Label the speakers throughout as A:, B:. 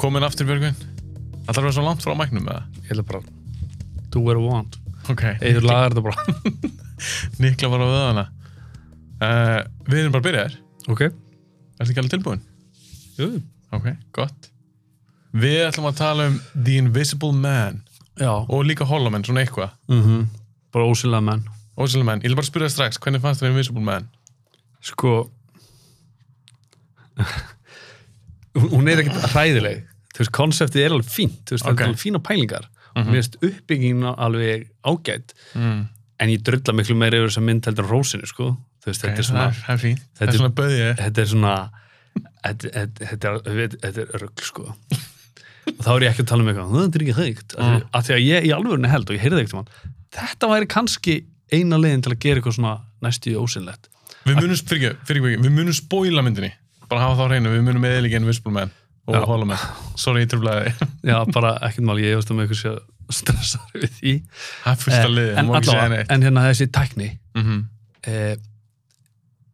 A: komin aftur Björgvin? Ætlar að vera svo langt frá mæknum með það?
B: Ég ætla bara Do what I want
A: Ok,
B: Eður lagar þetta bara
A: Nikla var á vöðana. Uh, við erum bara byrjaðir.
B: Ok
A: Ertu ekki alveg tilbúin?
B: Jú
A: Ok, gott. Við ætlum að tala um The Invisible Man
B: Já
A: og líka Hollow Man, svona eitthvað.
B: mm Bara ósynlega menn
A: Ósynlega menn, ég vil bara spyrja þér strax, hvernig fannst þér Invisible Man?
B: Sko Hún hún er ekkert hræðileg Þú veist, konseptið er alveg fínt Þú veist,
A: Ok.
B: þetta er alveg fína pælingar mm -hmm. Mér veist uppbyggingin alveg ágætt
A: Mm.
B: En ég drulla miklu meira yfir þess að mynd heldur en rósinu, sko Þú veist, þetta er svona
A: Það er fínt, þetta
B: þetta er-
A: er svona böðið.
B: þetta er svona þetta, þetta, þetta, er- þetta er rögl sko og þá er ég ekki að tala um eitthvað þetta er ekki hægt mm. að því að ég í alvörinu held og ég heyrði ekkert um hann þetta væri kannski eina leiðin til að gera eitthvað svona næstu í ósynlegt
A: Við munum, fyrir, fyrir, fyrir, við munum spoila myndinni, bara hafa þá á hreinu, við munum eðlíka Invisible Man og
B: Já.
A: Hollow Man. Sorry, ég tröflaði þig.
B: já bara ekkert mál ég veist um eitthvað sé stressar við því Eh,
A: Það er fullt að liði,
B: en,
A: það má ekki segja
B: allavega,
A: neitt.
B: en hérna þessi tækni
A: Mm
B: eh,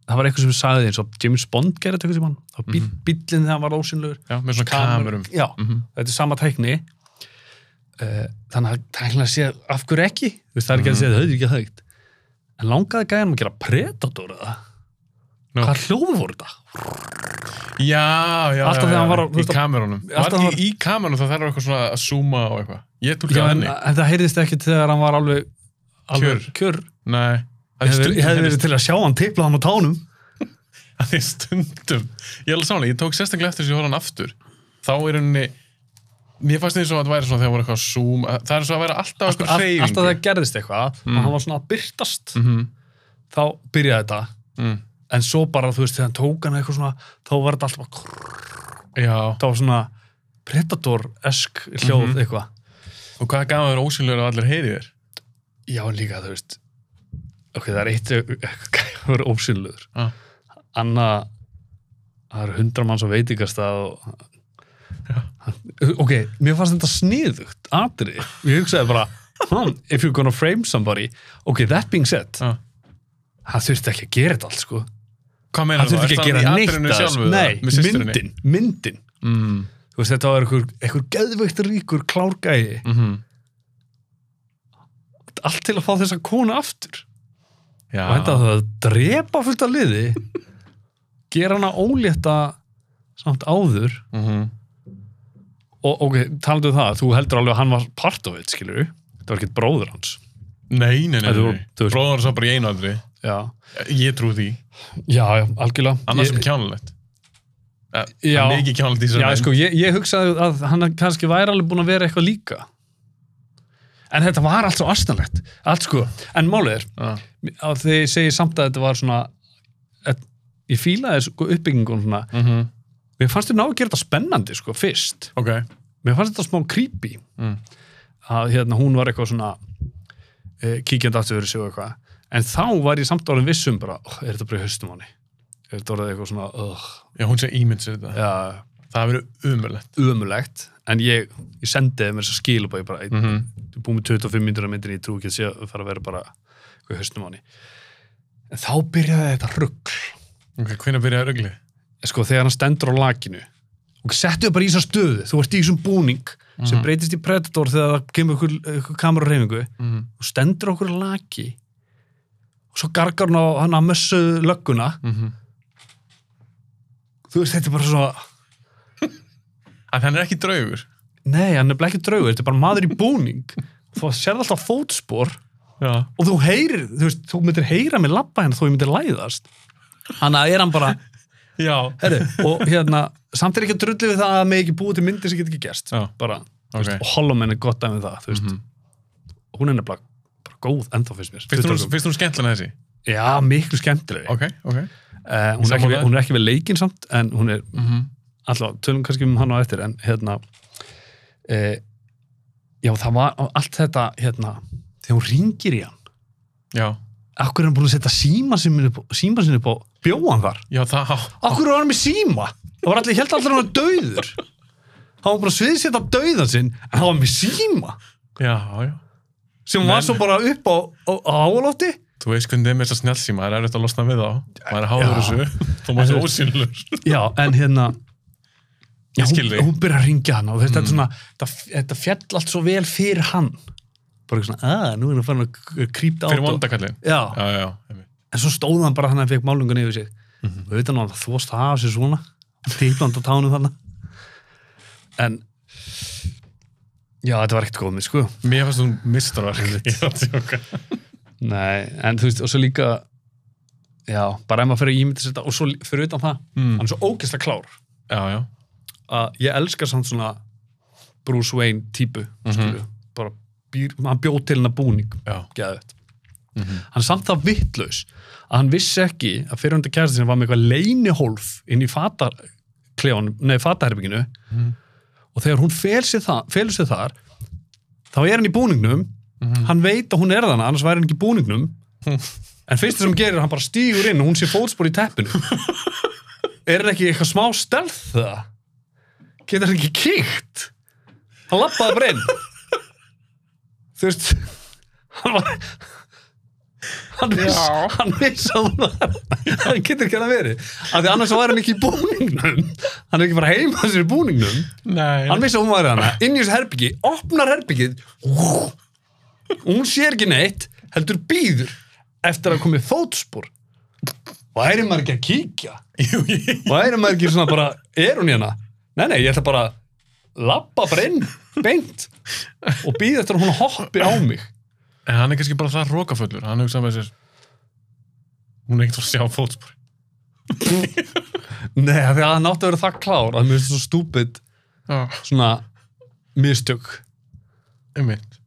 B: það var eitthvað sem við sagði eins og James Bond gerði þetta eitthvað sem hann bíl,
A: Mhm.
B: mm. bíllinn þegar hann var ósynlegur
A: Já, með svona kamerum.
B: Kamerun- já,
A: Mhm.
B: þetta er sama tækni uh, þannig að tæknilega sé af hverju ekki, þú veist það er ekki að segja það er ekki hægt, en langaði gæðanum að gera predator eða,
A: Nú.
B: hvað hljóðu voru þetta?
A: Já, já,
B: Alltaf
A: já,
B: þegar hann
A: já,
B: var á- þú
A: í
B: veist að-
A: kamerunum
B: alltaf
A: var,
B: hann var-
A: í, í kamerunum þá þarf eitthvað svona að zooma og eitthvað ég tólkaði
B: en,
A: henni
B: en það heyrðist ekki þegar hann var alveg, alveg
A: Kjör.
B: kjör,
A: Nei,
B: Ég
A: það er
B: hefði-
A: stundum
B: ég hefði verið
A: heyrðist-
B: til að sjá hann tipla hann á tánum
A: það er stundum ég er alveg samanlega, ég tók sérstaklega eftir þess að ég horfði hann aftur þá er henni mér fannst eins og að það væri svona þegar voru eitthvað að zoom að- það er svo að vera alltaf eitthvað
B: All,
A: hreyfing
B: alltaf það gerðist eitthvað og hann var svona að byrtast
A: Mhm.
B: þá byrjaði þetta
A: mm,
B: en svo bara þú veist þegar hann tók hann eitthvað svona þá var þetta alltaf bara krrr,
A: Já,
B: þá var svona predator-esk hljóð eitthvað
A: og hvað gaf þér ósynlega að allir heyri þér
B: Já, en líka, þú veist ok, það er eitt gæður ósynlugur
A: Já.
B: Anna það eru hundra manns á veitingastað og ok, mér fannst þetta sniðugt atri, ég hugsaði bara hmm, if you're gonna frame somebody ok, that being said
A: Já.
B: hann þurfti ekki að gera þetta allt sko
A: Hvað meinar
B: hann þurfti ekki að gera neitt að þessu. nei,
A: myndin
B: myndin, myndin
A: mm,
B: þú veist, þetta var einhver, einhver geðveikt ríkur klárgæði
A: mm
B: allt til að fá þessa konu aftur
A: Já,
B: og þetta að það drepa fullt af liði gera hana ólétta samt áður
A: Mhm.
B: og ok, talandu um það, þú heldur alveg að hann var part of it, skilur við þetta var ekkert bróður hans
A: Nei, nei, nei,
B: Þetta
A: nei,
B: voru-
A: nei.
B: þú veist-
A: Bróðan sá bara í einu aldrei
B: já,
A: Ég trú því
B: já, já algjörlega
A: annars sem
B: ég,
A: kjánulegt Eh,
B: Já.
A: hann er ekki kjánulegt í þessu
B: já, sko, ég, ég hugsaði að hann kannski væri alveg búin að vera eitthvað líka en þetta var allt svo astanlegt allt sko, en málið er
A: Já.
B: að þegar ég segi samt að þetta var svona að, ég fílaði sko uppbyggingun svona,
A: Mhm.
B: mér fannst þér ná að gera þetta spennandi sko, fyrst
A: ok
B: mér fannst þetta smá creepy
A: Mm.
B: að hérna hún var eitthvað svona e, kíkjandi aftur fyrir sig og eitthvað en þá var ég samt orðin vissum bara oh, er þetta bara í haustum hann er þetta orðið eitthvað svona oh,
A: já, hún sé ímyndsir þetta
B: ja,
A: það hefur verið umverlegt
B: ömulegt en ég, ég sendiði mér þess að skil og bara, ég bara mm
A: Mhm.
B: -hmm. ég búið með 25 myndir að myndinni ég trú ekki að sé að fara að vera bara eitthvað í haustum hann en þá byrjaði þetta rugg
A: ok, hvenær byrjaði rögli
B: sko, þegar hann stendur á lakinu og settu það bara í þessa stöðu þú ert í þessum búning sem breytist í Predator þegar það kemur ykkur, ykkur kamera reyfingu
A: Mhm.
B: og stendur á okkur laki og svo gargar hann á hann að mössu lögguna
A: Mhm.
B: þú veist, þetta er bara svo
A: að hann er ekki draugur
B: nei, hann er bara ekki draugur, þetta er bara maður í búning þú sérð alltaf fótspor
A: já,
B: og þú heyrir, þú veist, þú myndir heyra mig labba hennar þó ég myndir læðast hann að er hann bara,
A: já.
B: herru og hérna, samt er ekki að drulli við það að mig ekki búið til myndir sem getur ekki gerst
A: Já.
B: bara,
A: ok
B: og Hollow Man er gott dæmið það, þú veist hún er nefnilega bara góð ennþá finnst mér
A: finnst hún,
B: 20.
A: finnst hún skemmtilega þessi
B: já, miklu skemmtileg
A: ok, ok
B: uh, hún, er ekki,
A: Sammála
B: við-
A: þér.
B: hún er ekki við leikinn samt en hún er,
A: mm -hmm.
B: alltaf, tölum kannski um hann á eftir en hérna uh, já, það var allt þetta, hérna, þegar hún ringir í hann
A: já,
B: akkur er hann búin að setja síma sinni upp, á- síma sinni upp á bjóðan þar
A: já, það
B: akkur er hann með síma það var allir, ég held allir hann að döður hann var bara að sviðsetta döðan sinn en hann var með síma
A: já, já
B: sem var
A: Men-
B: svo bara upp á, á, á álofti
A: Þú veist hvernig þið með þess að snjálfsíma, það er erfitt að losna við þá. Maður er háður
B: Já.
A: þessu, þú maður er ósynlur.
B: Já, en hérna
A: Ég skil
B: hún,
A: þig.
B: hún byrjar að ringja hann og þetta, mm. svona, þetta, þetta fjall allt svo vel fyrir hann bara eitthvað svona, að nú er hann farin að krýpta
A: Fyrir vondakallin.
B: já,
A: Já, já, einmitt.
B: en svo stóð hann bara þannig að hann fekk málungan yfir sig
A: Mhm.
B: og við veitum hann að þvóst það af sér svona típland á tánum þannig en já, þetta var ekkert góð með sko
A: Mér fannst hún mistarverk. Ég var að tjóka.
B: Nei, en þú veist, og svo líka já, bara ef maður fyrir að ímynda sér þetta og svo lí- fyrir utan það,
A: Mm.
B: hann er svo ógeðslega klár
A: Já, já.
B: að ég elska samt svona Bruce Wayne típu mm bara, býr, hann bjóð til hennar búning
A: Já.
B: geðvett hann er samt það vittlaus að hann vissi ekki að fyrirhundi kæristi sinni var með eitthvað leinihólf inn í fataklefanum, nei, fataherbygginu og þegar hún felur sig, það, felur sig þar þá er hann í búningnum hann veit að hún er þannig, annars væri hann ekki í búningnum en fyrst sem hann gerir er að hann bara stígur inn og hún sé fótspor í teppinu er hann ekki eitthvað smá stelð það? getur hann ekki kíkt hann lappaði bara inn þú veist hann var hann viss,
A: Já.
B: hann viss að hún var hann getur ekki að það verið af því annars var hann ekki í búningnum hann er ekki bara heima sér í búningnum
A: Nei.
B: hann vissi að hún var hana inn í þessu herbyggi, opnar herbyggið og hún sér ekki neitt heldur býður eftir að komið fótspor væri maður ekki að kíkja
A: Jú, ég...
B: væri maður ekki svona bara, er hún hérna? Nei, nei, ég ætla bara að lappa bara inn, beint og býða eftir að hún hoppi á mig
A: En hann er kannski bara það rókafullur. Hann hugsa með sér. Hún er ekkert að sjá fótspor.
B: Nei, af því að hann átti að vera það klár að mér finnst það svo stúpid
A: Já.
B: svona mistök
A: Einmitt.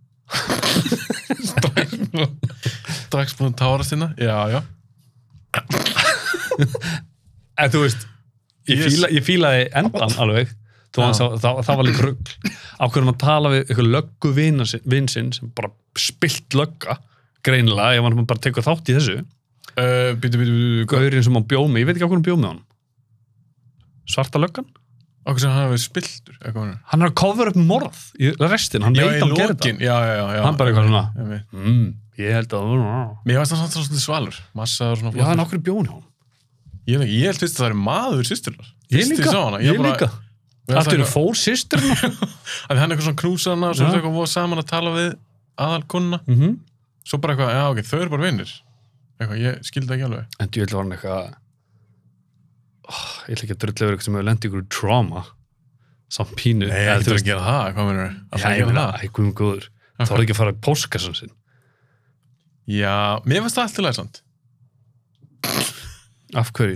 A: Strax búin- Strax búin að tárast hérna. Já, já.
B: En þú veist, ég,
A: Yes.
B: fíla, ég fílaði endan alveg þó hann
A: Já.
B: sá, það, það var líka rugg á hverjum að tala við eitthvað löggu vina sin- vin sinn sem bara spilt lögga greinilega, ef hann bara tekur þátt í þessu
A: Uh, bítu, bítu, bítu.
B: gaurinn sem hann bjóð með, ég veit ekki á hverjum bjóð með hann svarta löggan
A: Okkur sem hann hefur spiltur. Eitthvað hann.
B: hann er að cover upp morð í restin, hann
A: Já, í
B: veit að hann gerir
A: lokin.
B: þetta
A: Já, já, já. já.
B: hann bara eitthvað svona
A: Einmitt.
B: mm, ég held að
A: Mér finnst það samt svona svolítið svalur. Massaður svona
B: já,
A: flottur.
B: hann okkur bjón hjá hann
A: Ég, veit ekki, ég held fyrst að það er maður sýsturnar.
B: ég líka, ég, líka allt eru
A: fólk.
B: fór sýstur
A: Að hann er eitthvað svona knúsana og svo er
B: Já.
A: það eitthvað voða saman að tala við aðal kunna.
B: en
A: Svo bara eitthvað, já ok, þau eru bara vinnir. Eitthvað, ég skildi ekki alveg.
B: djúvel var hann eitthvað oh, ég ætla ekki að drulla yfir eitthvað sem hefur lendið ykkur trauma samt pínu Eða, þú
A: þú
B: veist,
A: að gera það, hvað mennur það?
B: já, ég meina, æ, guðum góður
A: Ok.
B: þá er ekki að fara í póskassan sinn
A: Já, mér finnst það alltaf læsand.
B: af hverju,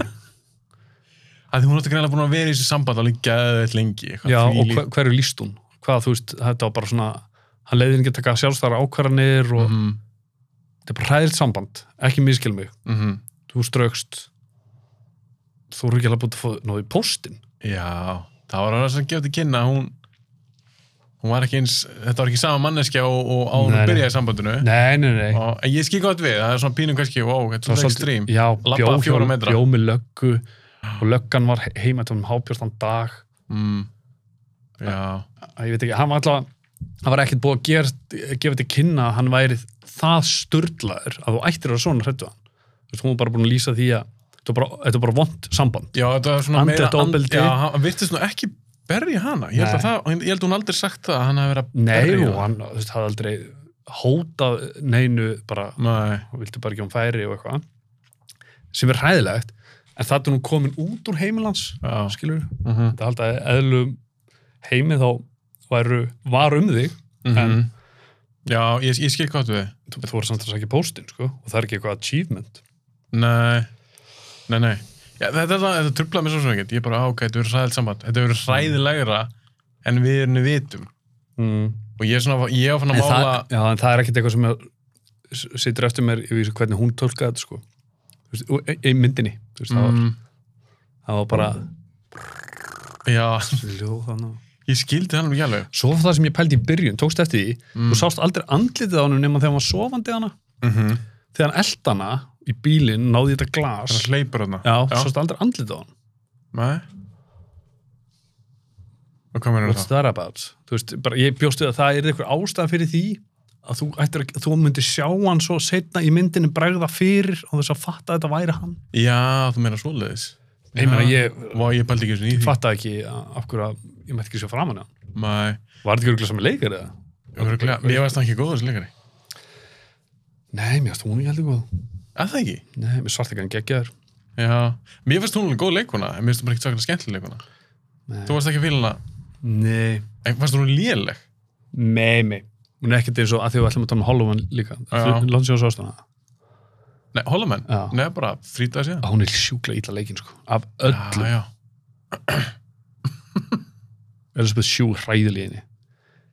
A: Að því hún átti greinlega búin að vera í þessu samband alveg geðveitt lengi. eitthvað,
B: já, og
A: þvílík-
B: hver, hverju líst hún hvað, þú veist, þetta var bara svona hann leiði henni ekki að taka sjálfstæra ákvarðanir og
A: Mhm,
B: þetta er bara hræðilt samband ekki miskil mig,
A: mhm.
B: þú straukst þú eru ekki alveg búin að fá náðu í póstin
A: Já, það var alveg sem gefið til kynna að hún, hún var ekki eins, þetta var ekki sama manneskja og, og áður
B: Nei,
A: hún
B: nei.
A: byrjaði í sambandinu.
B: nei, nei, nei,
A: Og, en ég skil gott við, það er svona pínum kannski, wow, þetta er ekstrím.
B: já,
A: Labbaði
B: bjó,
A: fjóra
B: hjá-
A: metra.
B: bjó með löggu og löggan var he- heima til um hábjörnstann dag
A: Mm. Já,
B: Að ég veit ekki, hann var alltaf hann var ekkert búið að gera, gefa til kynna að hann væri það sturdlaður að þú ættir að vera svona hrættu hann þú veist, hún var bara búin að lýsa því að þetta var bara, þetta var bara vond samband
A: já þetta var svona
B: Andlegt
A: and-
B: ofbeldi.
A: Já, hann virtist nú ekki berja hana. Ég held, að
B: Nei.
A: það, ég held að hún aldrei sagt það að hann hafi verið að
B: nei,
A: berja
B: og hann, þú veist, hafði aldrei hótað neinu bara,
A: Nei,
B: hún vildi bara ekki um færi og eitthvað sem er hræðilegt en það er hún komin út úr heimilans
A: já.
B: skilur,
A: Mm -hmm.
B: þetta haldið að eðlum heimi þá væru var um þig, En-
A: Já, ég, ég skil gott við.
B: þú þú voru samt að sækja póstinn, sko, og það er ekki eitthvað achievement
A: Nei, nei, nei. Já, þetta, þetta, þetta trublaði mér svo sem ekkert. Ég bara, á, ok, þetta verður hræðilt samband. Þetta
B: Mhm.
A: verður hræðilegra en við erum við vitum.
B: mm.
A: Og ég er svona, ég er fann að
B: en
A: mála...
B: það, já, en það er ekkert eitthvað sem að s- situr eftir mér í vísu hvernig hún tólkaði þetta sko Þú veist, og- í- í myndinni Þú veist, það, var,
A: mm,
B: það var bara
A: já,
B: ljóð þannig
A: ég skildi hann ekki alveg.
B: svo var það sem ég pældi í byrjun, tókst eftir því
A: Mm.
B: þú sást aldrei andlitið á hann nema þegar hann var sofandi hana
A: Mm -hmm.
B: þegar hann elda hana í bílinn, náði í þetta glas
A: Það hleypur hann.
B: já, þú sást aldrei andlitið á hann
A: Nei. Og hvað meður
B: what's
A: það?
B: that about Þú veist, bara, ég bjóst við að það er eitthvað ástæða fyrir því að þú, ættir, að- þú myndir sjá hann svo setna í myndinni bregða fyrir og þess að fatta að þetta væri hann
A: Já, þú meina svoleiðis.
B: Ég meina, ég
A: Vá, ég pældi ekki svona í því.
B: fattaði ekki að- af hverju að ég mætti ekki sjá framan á hann.
A: Mæ,
B: Var þetta ekki örgulega saman leikar eða?
A: örugglega- mér varst það ekki góður þessi leikari.
B: Nei, mér varst hún ekki heldur góð.
A: Er það ekki?
B: Nei, mér svart ekki hann geggjaður.
A: Já, mér finnst hún alveg góð leikona, en mér finnst hún bara ekkert svakana skemmtileg leikona.
B: Nei.
A: Þú varst ekki að fíla hana,
B: Nei.
A: en fannst hún léleg?
B: Nei, nei. Hún er ekkert eins og að því að við ætlum að tala um Hollowan líka.
A: Já.
B: Lóðum sér á sást hana.
A: Nei, Holloman?
B: Já.
A: Nei, bara frýtaði síðan.
B: Að Hún er sjúkla illa leikin, sko. Af
A: Já,
B: öllu.
A: já.
B: Elizabeth Shue hræðileginni.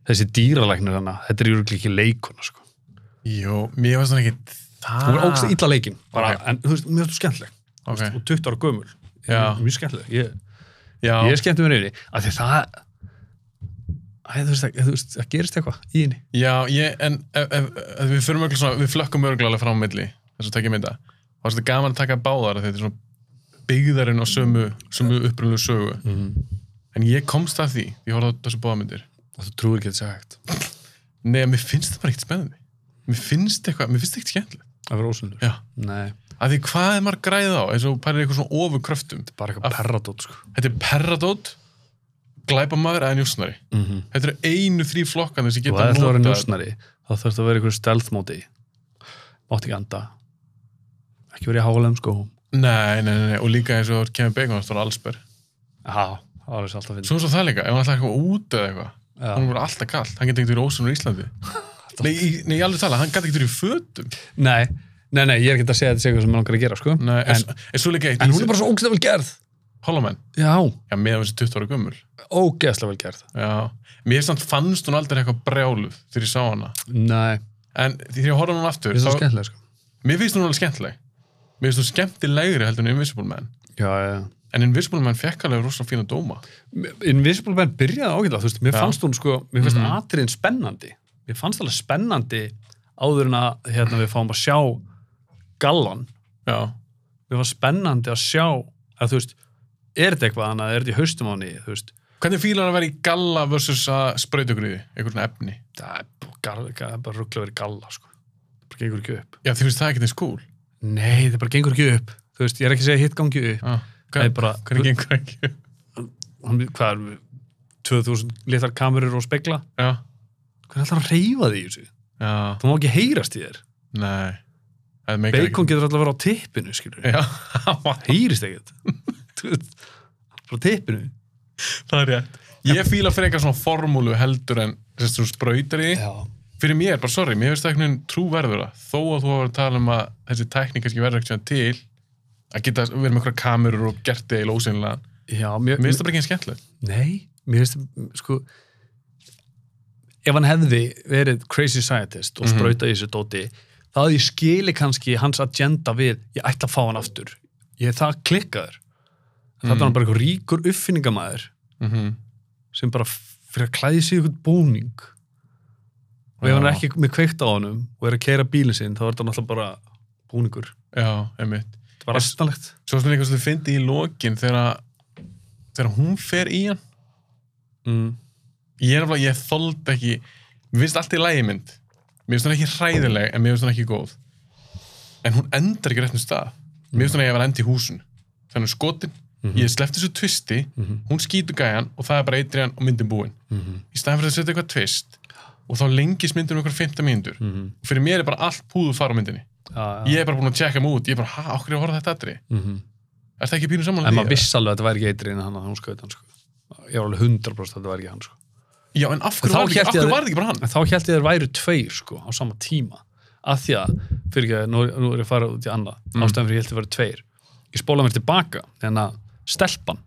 B: Þessi dýralæknir hana, þetta er jörglega ekki leikuna, sko.
A: Jú, mér finnst hún ekki það.
B: Hún er ógst illa leikin. Bara,
A: Ok.
B: en, þú veist, mér finnst þú skemmtileg.
A: Ok,
B: Og 20 ára gömul.
A: Já.
B: Mjög skemmtileg. Ég,
A: já.
B: ég um skemmti mér yfir því. Af því það, æ, þú veist, það, þú veist, það gerist eitthvað í henni.
A: Já, ég, en ef, ef, ef við fyrir mörgulega svona, við flökkum mörgulega alveg frá á milli þess að tekja mynda. Það var svolítið gaman að taka báðar af því þetta er svona byggðarinn á sömu, sömu upprunnu sögu.
B: Mhm.
A: En ég komst að því, því ég horfði á þessu báðamyndir.
B: Og þú trúir ekki að þetta sé hægt.
A: Nei, mér finnst það bara ekkert spennandi. Mér finnst eitthvað, mér finnst það ekkert skemmtilegt.
B: Að vera ósynlur.
A: Já.
B: Nei,
A: Af því hvað er maður græð á, eins og pærir eitthvað svona ofurkröftum.
B: bara eitthvað
A: Af-
B: perradót, sko.
A: Þetta er perradót, glæpamaður eða njúsnari.
B: Mm
A: Þetta eru einu þrý flokkan sem
B: og ef þú
A: geta
B: ætlar að vera
A: notað-
B: njósnari þá þarfst að vera ykkur stealth móti mátt ekki anda ekki verið í hálum sko
A: Nei, nei, nei, nei, og líka eins og Kevin Bacon, það var allsber.
B: já, það var þess alltaf finn
A: Svo er svo það líka, ef hann ætlaði eitthvað út eða eitthvað, hann
B: já.
A: voru alltaf kallt, hann geti ekkert verið ósunur í Íslandi. nei, í- nei, ég alveg tala, hann geti ekkert verið í fötum.
B: nei, nei, nei, ég er ekki að segja þetta sé eitthvað sem maður langar að gera sko
A: Nei, en,
B: en,
A: en svo líka eitt,
B: en hún er bara svo ógeðslega vel gerð
A: Holloman,
B: já,
A: já, með þessi 20 ára gömul.
B: ógeðslega vel gerð
A: Já, mér samt fannst hún aldrei eitthvað brjáluð þegar ég sá hana.
B: nei,
A: En þegar ég horfði á hann aftur,
B: það er svo
A: þá,
B: skemmtilega sko
A: mér finnst hún alveg skemmtileg. Mér finnst hún skemmtilegri heldur en Invisible Man.
B: já, já, já
A: En Invisible Man fekk alveg rosalega fína dóma.
B: Invisible Man byrjaði ágætlega, þú veist, mér
A: Já.
B: fannst hún sko, mér fannst
A: Mhm.
B: atriðin spennandi mér fannst alveg spennandi áður en að hérna, við fáum að sjá gallan
A: Já,
B: mér var spennandi að sjá að þú veist, er þetta eitthvað annað, er þetta í haustum á henni, þú veist
A: hvernig fílar að vera í galla versus að sprautugriði, einhvern svona efni?
B: það er bara gall- það er bara ruggla verið galla sko. það bara gengur ekki upp
A: Já, því finnst það ekki eins cool.
B: nei, það bara gengur ekki upp, þú veist, ég er ekki að segja hitt gangi upp,
A: Já,
B: það
A: hvað,
B: er bara
A: hvernig gengur ekki?
B: hann, hvað er, 2000 litlar kamerur og spegla,
A: Já,
B: hvernig ætlar hann að reyfa því í þessu,
A: já,
B: það má ekki heyrast í þér
A: nei. Það meikar ekki-
B: bacon getur alltaf að vera á tippinu, skilur
A: Já,
B: heyrist ekkert Þú veist, frá tippinu
A: það er rétt. Ég fíla fyrir eitthvað svona formúlu heldur en sérst, svona sprautar í. því.
B: já,
A: Fyrir mér, bara sorry, mér finnst það einhvern veginn trúverðura. Þó að þú hefur að tala um að þessi tækning kannski verður ekkert síðan til að geta verið með eitthvað kamerur og gert þig í lósinlega.
B: já mér,
A: Mér finnst það bara ekki eins skemmtilegt.
B: Nei, mér finnst sko ef hann hefði verið crazy scientist og
A: Mhm.
B: sprauta í þessu dóti þá hefði ég skili kannski hans agenda við ég ætla að fá hann aftur ég er það klikkaður mm.
A: Mhm.
B: þetta er hann bara einhver ríkur uppfinningamæður
A: Mm
B: sem bara f- fyrir að klæði sig í einhvern búning og ef hann
A: Já.
B: er ekki með kveikt á honum og er að keira bílinn sinn þá er þetta náttúrulega bara búningur
A: Já, einmitt.
B: þetta er bara
A: Yes.
B: astanlegt
A: Svo sem líka sem þið fyndi í lokin þegar, að- þegar hún fer í hann.
B: mm.
A: Ég er alveg, ég þóld ekki, mér finnst allt í lægi mynd. Mér finnst hún ekki hræðileg, en mér finnst hún ekki góð. En hún endar ekki á réttum stað. Mér finnst hún að ég var endi í húsun. Þannig skotin, ég sleppti þessu tvisti,
B: Mhm,
A: hún skýtu gæjan og það er bara eitriðan og myndin búin. Í staðan fyrir að setja eitthvað tvist og þá lengist myndin um eitthvað 15 mínútur.
B: mhm.
A: Og fyrir mér er bara allt púðu fara á myndinni.
B: já, já.
A: Ég er bara búin að tjekka mig út, ég er bara, ha, okkur er að horfa á þetta aðri?
B: Mhm.
A: Er það ekki pínu saman
B: En maður vissi alveg að þetta væri ekki eitrið en hann að hún skaut hann sko. Ég var alveg 100% að þetta væri ekki hann sko.
A: Já, en af
B: En
A: hverju
B: þá
A: var, ekki,
B: hélt
A: af
B: ég
A: hverju
B: að-
A: var það ekki bara hann?
B: En þá held ég að þeir væri tveir sko á sama tíma. Af því að, fyrir ekki að nú, nú er ég að fara út í annað,
A: Mm.
B: ástæðan fyrir ég held að væri tveir. Ég spóla mér tilbaka, þannig að stelpan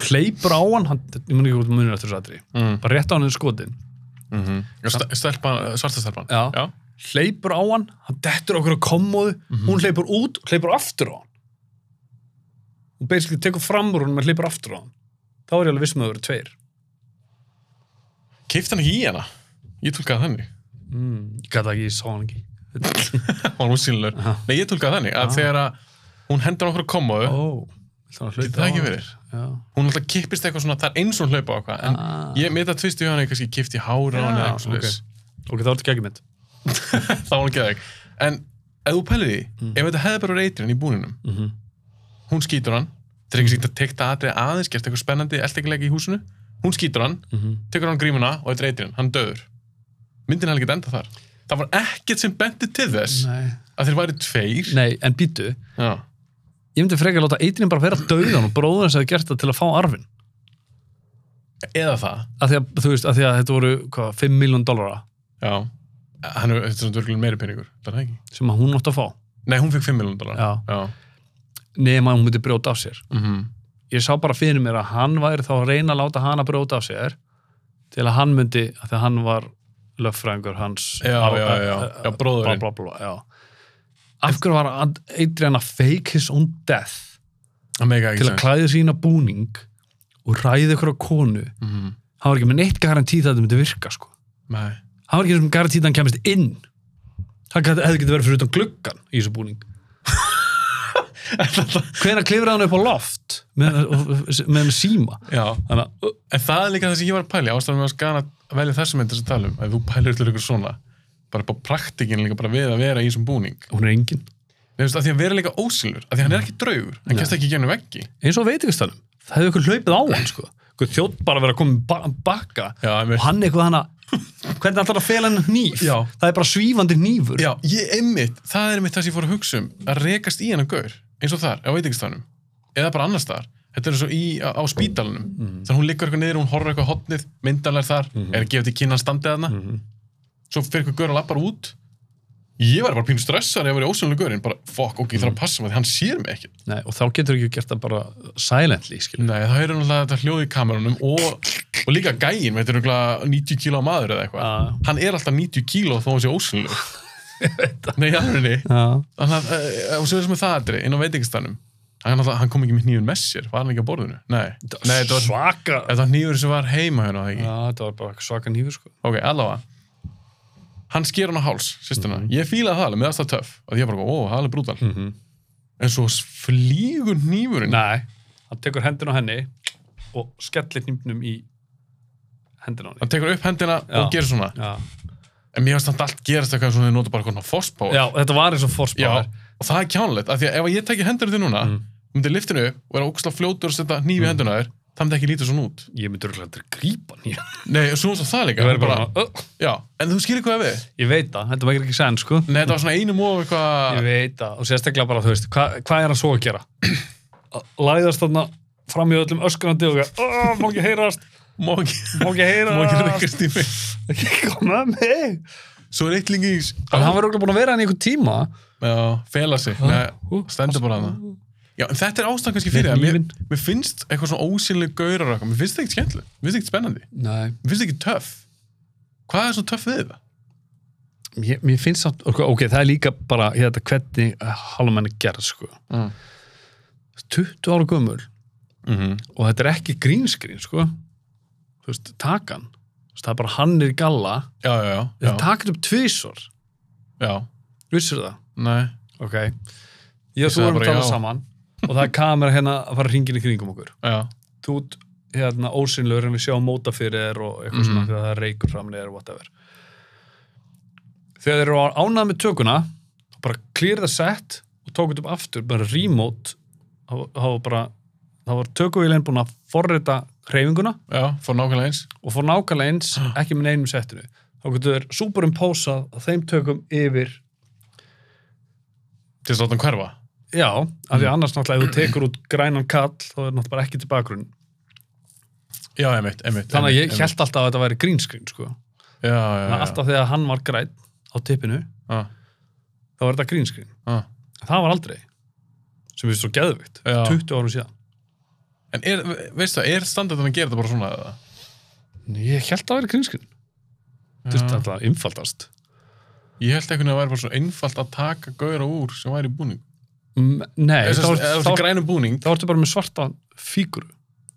B: hleypur á hann, hann ég mun ekki út munir eftir þessu atri,
A: Mm.
B: bara rétt á hann er skotin,
A: Já, st- Mm-hmm. Stelpan, svarta stelpan.
B: Mhm. Já.
A: Já.
B: hleypur á hann, hann dettur okkur á kommóðu, hún hleypur út, hleypur aftur á hann. Hún basically tekur fram úr hann, menn hleypur aftur á hann. Þá er ég alveg vissum að það eru tveir.
A: Keypti hann ekki í hana? Ég tólkaði þannig.
B: Mm. Ég gæti ekki, ég sá hann ekki.
A: Hann var útsýnilegur. Nei, ég tólkaði þannig að þegar að hún hendur okkur að koma
B: Ó, vilt hann að hlaupa
A: Getur það
B: á
A: ekki
B: hann?
A: verið?
B: Já.
A: hún alltaf kippist eitthvað svona, það er eins og hún hlaupa á eitthvað. En
B: Ah.
A: ég með þetta tvisti í hana, ég kannski kipti í hára á hana eða
B: Já,
A: eitthvað slúðis.
B: Ok, þá er þetta ekki mynd.
A: Það var hún ekki aðeins. En ef þú pælir því, ef þetta hefði bara reytirinn í búninum,
B: Mhm.
A: hún skýtur hann, þeir ekki sýnt að tekta aðrið aðeins gert eitthvað spennandi eldekilegi í húsinu hún skýtur hann,
B: Mhm.
A: tekur hann grímuna og þetta reytir hann, hann döður myndin hefði ekki enda þar það var ekkert sem bendi til þess
B: Nei.
A: að þeir væri tveir
B: Nei, en býtu,
A: Já.
B: ég myndi frekar láta eitrinn bara vera döðan og bróður hans hefði gert það til að fá arfin.
A: eða það
B: Að því að, þú veist, að því að þetta voru, hvað, 5 miljón dollara
A: Já. hann er, þetta er svona dörgulega meiri peningur þetta er það ekki
B: sem að hún átti að fá.
A: Nei, hún fekk 5 miljonar dólar.
B: Já.
A: Já.
B: Nefn að hún myndi brjóta af sér.
A: Mm
B: Ég sá bara fyrir mér að hann væri þá að reyna að láta hana brjóta af sér til að hann myndi, að því að hann var löffræðingur hans.
A: já,
B: á- eh,
A: já, já. Já,
B: bla,
A: bróðurinn.
B: bla, bla, já. Af hverju var Ad- Adrian að fake his own death
A: Það mega ekki
B: til að klæða sína búning og ræða ykkur á konu
A: Mm.
B: hann var ekki með neitt garantí það að þetta myndi virka sko.
A: Nei.
B: hann var ekki með garantí það hann kemist inn hann gat- hefði getið verið fyrir utan gluggan í þessu búning hvenær klifraði hann upp á loft með, með hann síma
A: Já.
B: þannig að
A: En það er líka það sem ég var að pæla. í. Ástæðan með að skana að velja þessum myndir sem tala um. Ef þú pælir til ykkur svona. Bara upp á praktikinn líka bara við að vera í þessum búning.
B: hún er engin
A: Nei, veist, að því að vera líka ósýlur. Að því að hann er ekki draugur. Hann
B: Nei.
A: kemst ekki í genum veggi.
B: eins og veitingastanum, það hefði ykkur hlaupið á hann sko. ykkur þjótt bara verið að koma með ba bakka
A: Já,
B: og hann eitthvað hann að hvernig ætlar að fela hennar nýf
A: Já.
B: það er bara svífandi nýfur
A: Já, ég einmitt. Það er einmitt það sem ég fór að hugsa um. Að rekast í hennan gaur. Eins og þar, á veitingstænum. Eða bara annars þar. Þetta er svo í, á, á spítalunum. Þannig að hún liggur eitthvað niður, hún horfir eitthvað hotnið, myndalar þar, er að gefa til kynna hann standið þarna. svo fyrir eitthvað gaur að lappar út ég var bara pínu stressaður ef ég var í ósynlega gaurinn bara fokk, ok, ég þarf að passa maður því hann sér mig ekki
B: Nei, og þá getur ekki gert það bara silently skilur.
A: nei, það er náttúrulega þetta hljóð í kamerunum og, og líka gæin, þetta er náttúrulega 90 kíló maður eða eitthvað
B: Já.
A: hann er alltaf 90 kíló þó hann sé ósynlega nei, alveg
B: Já.
A: þannig að, eh, og svo er sem með það aðri inn á veitingastanum hann, náttúrulega- hann kom ekki með nýjun með sér, var hann ekki á borðinu nei, nei þetta var,
B: svaka
A: þetta var nýjur sem var heima hérna var það ekki
B: Já, þetta var bara svaka nýfur sko.
A: ok, allavega hann sker hann á háls, sýstina
B: Mhm.
A: ég fílaði það alveg, með það töff að ég bara, ó, það er alveg brútal en svo flýgur nýfurinn
B: Nei, hann tekur hendin á henni og skellir nýfnum í hendin á henni
A: hann tekur upp hendina
B: Já.
A: og gerir svona
B: Já.
A: en mér finnst hann allt gerast eitthvað svona þeir nota bara svona forspáð
B: Já, þetta var eins og forspáður
A: og það er kjánlegt, af því að ef ég tekja hendina til núna
B: Mhm.
A: myndi liftinu upp og er að óksla fljótur og setja nýfi mm. hendina á þér, það myndi ekki lítið svona út
B: Ég myndi örgulega að grípa hann Ég,
A: nei, svo svo það líka
B: verð
A: bara,
B: bara, "Ugh."
A: já, en þú skilir hvað er við
B: ég veit það, þetta var ekki senn sko.
A: nei, þetta var svona einum og
B: Ég
A: eitthvað
B: veit það, og sérstaklega bara, þú veist, hva, hvað er hann svo að gera? Að Læðast þarna fram í öllum öskunandi og gera, "Ó, má ekki heyrast,
A: má ekki, má
B: má ekki
A: ekki
B: heyrast,
A: rekast í mig
B: ekki koma að mig.
A: svo er eitt lengi í
B: En hann var okkur búin að vera hann í einhvern tíma.
A: Já, fela sig, Nei, stendur bara hana Já, en þetta er ástæðan kannski fyrir
B: Með
A: það mér,
B: hnífinn.
A: mér finnst eitthvað svona ósynlega gaurar og eitthvað. Mér finnst það ekkert skemmtileg, mér finnst það ekkert spennandi
B: Nei.
A: Mér finnst það ekki töff Hvað er svona töff við það?
B: Mér, mér finnst það, ok, ok, það er líka bara, ég þetta, hvernig hálfmenni gerð, sko.
A: Mm.
B: 20 ára gömul
A: Mm -hmm.
B: og þetta er ekki grínskrín, sko. Þú veist, takan. Þú veist, það er bara hann er í galla.
A: Já, já, já, já,
B: Þetta takan upp tvísor.
A: já.
B: Vissur það?
A: Nei,
B: Ok. Ég og þú
A: sagði
B: erum
A: bara
B: að tala
A: já.
B: saman og það er kamera hérna að fara hringin í kringum okkur.
A: já,
B: Þú ert hérna ósynlur en við sjáum móta fyrir þér og eitthvað svona
A: Mhm.
B: þegar það reykur fram niður og whatever. Þegar þeir eru ánað með tökuna þá bara clear the set og tók þetta upp aftur, bara remote þá þá var bara, þá var tökuvílinn búin að forrita hreyfinguna
A: já, fór nákvæmlega eins
B: og fór nákvæmlega eins, ekki með neinum settinu þá getur þeir superimposað á þeim tökum yfir
A: Til þess að láta hann hverfa
B: Já, af því að annars náttúrulega ef þú tekur út grænan kall þá er náttúrulega bara ekki til bakgrunn
A: Já, einmitt, einmitt
B: þannig að ég
A: einmitt,
B: held alltaf að þetta væri grínskrín sko.
A: einmitt. Já, já,
B: þannig
A: já
B: að alltaf þegar hann var græn á tippinu
A: Já,
B: þá var þetta grínskrín
A: já
B: það var aldrei sem við svo geðvikt,
A: Já.
B: 20 árum síðan
A: En er, veistu það, er standardin að gera þetta bara svona eða?
B: Nei, Ég held að það væri grínskrín þetta er alltaf einfaldast
A: Ég held einhvern veginn að það væri bara svo einfalt að taka gauðra úr sem væri í búning
B: M Nei,
A: Eða
B: þá
A: þú
B: ertu-
A: ert í grænum búning
B: þá ertu bara með svarta fíguru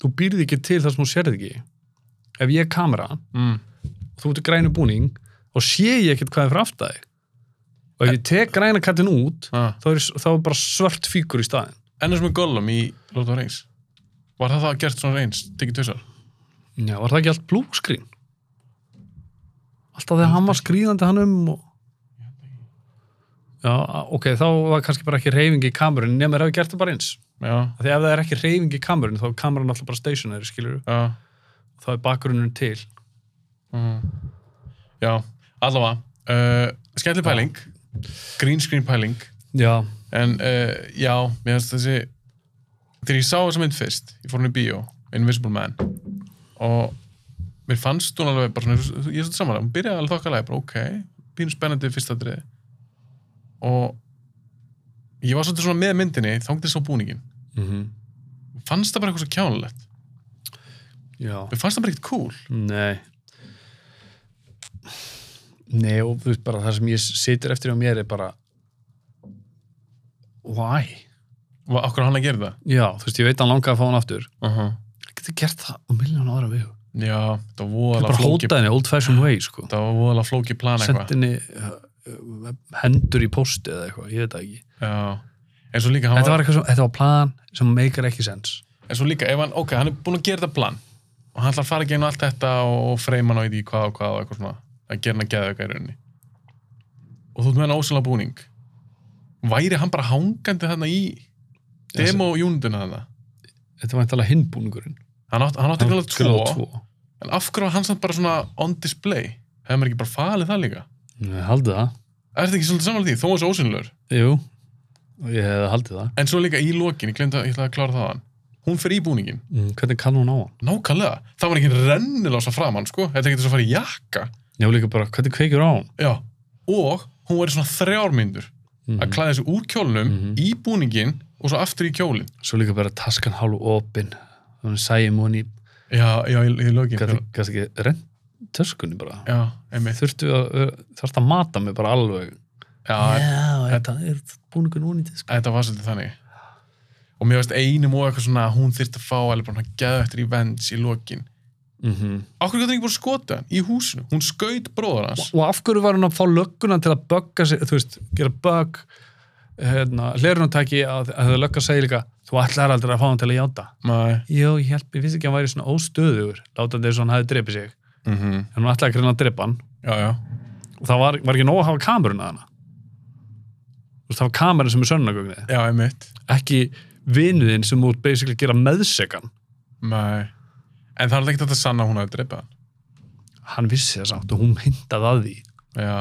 B: þú býrði ekki til þar sem þú sérði ekki ef ég er kameran
A: mm.
B: og þú ert í grænu búning og sé ég ekkert hvað er fyrir aftæði og ef ég tek græna kattin út
A: ah.
B: þá er, þá er bara svört fígur í staðin
A: ennur sem er Gollum í Lord of the Rings var það það gert svona reyns, tekið tvisar
B: Já, var það ekki allt blúskrín? Alltaf þegar hann var skrýðandi hann um og... Já, ok, þá var kannski bara ekki reyfing í kamerun nema þeir hafi gert það bara eins
A: já,
B: Af Því ef það er ekki reyfing í kamerun, þá er kameran alltaf bara stationary, skilur
A: já,
B: Þá er bakgrunnurinn til.
A: mm. já allavega, uh, skemmtileg pæling green screen pæling
B: Já,
A: en uh, já, mér finnst þessi þegar ég sá þessa mynd fyrst ég fór hún í bíó, Invisible Man og mér fannst hún alveg bara svona, ég er svolítið samanlega, hún byrjaði alveg þokkalega, bara ok, pínu spennandi fyrsta drið og ég var svolítið svona með myndinni þangtið svo búningin,
B: Mhm.
A: fannst það bara eitthvað svo kjánulegt
B: já.
A: mér fannst það bara ekkert cool
B: Nei Nei og þú veist bara það sem ég situr eftir á mér er bara Why?
A: og okkur hann að gera það
B: Já, þú veist, ég veit að hann langaði að fá hann aftur
A: uh -huh.
B: Ég geti gert það á miljón ára við Það
A: Já, þetta var
B: er
A: voðalega
B: bara
A: flóki
B: hótað henni, old fashioned way sko.
A: Þetta var voðalega flóki plan
B: Sendi
A: eitthvað
B: henni uh, uh, hendur í posti eða eitthvað, ég veit það ekki
A: Já, eins og líka hann
B: Þetta
A: var,
B: var, eitthvað sem, þetta var plan sem meikar ekki sens
A: eins og líka, ef hann, ok, hann er búin að gera þetta plan og hann ætlar að fara að geina allt þetta og, og freyma hann á í því hvað og hvað og eitthvað svona að gera hann að geða eitthvað í rauninni og þú ert með hann ósynlega búning væri hann bara hangandi þarna í demo-júnduna þarna
B: Þetta var eitthvað hinnbúningurinn
A: hann átti átt ekki alveg tvo,
B: Gröð tvo.
A: en af hverju var hann samt bara svona on display hefði maður ekki bara falið það líka
B: Nei, Haldið það,
A: er þetta ekki svolítið samanlega því, þó þessi ósynlegur
B: jú og Ég hefði haldið það
A: en svo líka í lokin, ég glemdi að ég ætlaði að klára það hann hún fer í búningin,
B: mm, Hvernig kann hún á hann?
A: nákvæmlega það var ekki rennilása framann, sko þetta er ekki þess að fara í jakka
B: Já, líka bara, hvernig kveikir á hún?
A: já. og hún var í svona þrjármyndur
B: Mm
A: að klæða sig úr kjólnum,
B: Mhm.
A: í búningin og svo aftur í kjólin
B: Svo líka bara taskan hálf opin Þannig sæjum hún í
A: já, já, í, í lokin
B: Gæti gæti ekki rent töskunni bara
A: já, einmitt
B: Þurftu að, þarftu að mata mig bara alveg
A: já,
B: þetta er búningun hún í disk
A: þetta var svolítið þannig og mér veist einum og eitthvað svona að hún þyrfti að fá alveg bara hann geða eftir í vends í lokin
B: mm -hmm.
A: okkur gæti ekki bara skota hann í húsinu hún skaut bróður hans
B: Og af hverju var hún að fá lögguna til að bögga sig Þú veist, gera bögg hérna, Hlerunatæki að, að þau lögga segja líka Þú ætlar aldrei að fá hún til að játa
A: Nei.
B: Jó, ég held, ég finnst ekki að hann væri svona óstöðugur Látandi þess að hann hafi drepið sig
A: Mm
B: En hún ætlaði að greina að drepa hann
A: já, já,
B: og það var, var ekki nóg að hafa kamerun að hana Þú veist, það var kamerun sem er sönnagögnið
A: já, einmitt
B: ekki vinuðinn sem út basically gera meðsekan
A: Nei. En það er alltaf ekki þetta sanna að hún hafi dreipað hann.
B: hann vissi það samt og hún hindaði að því
A: Já.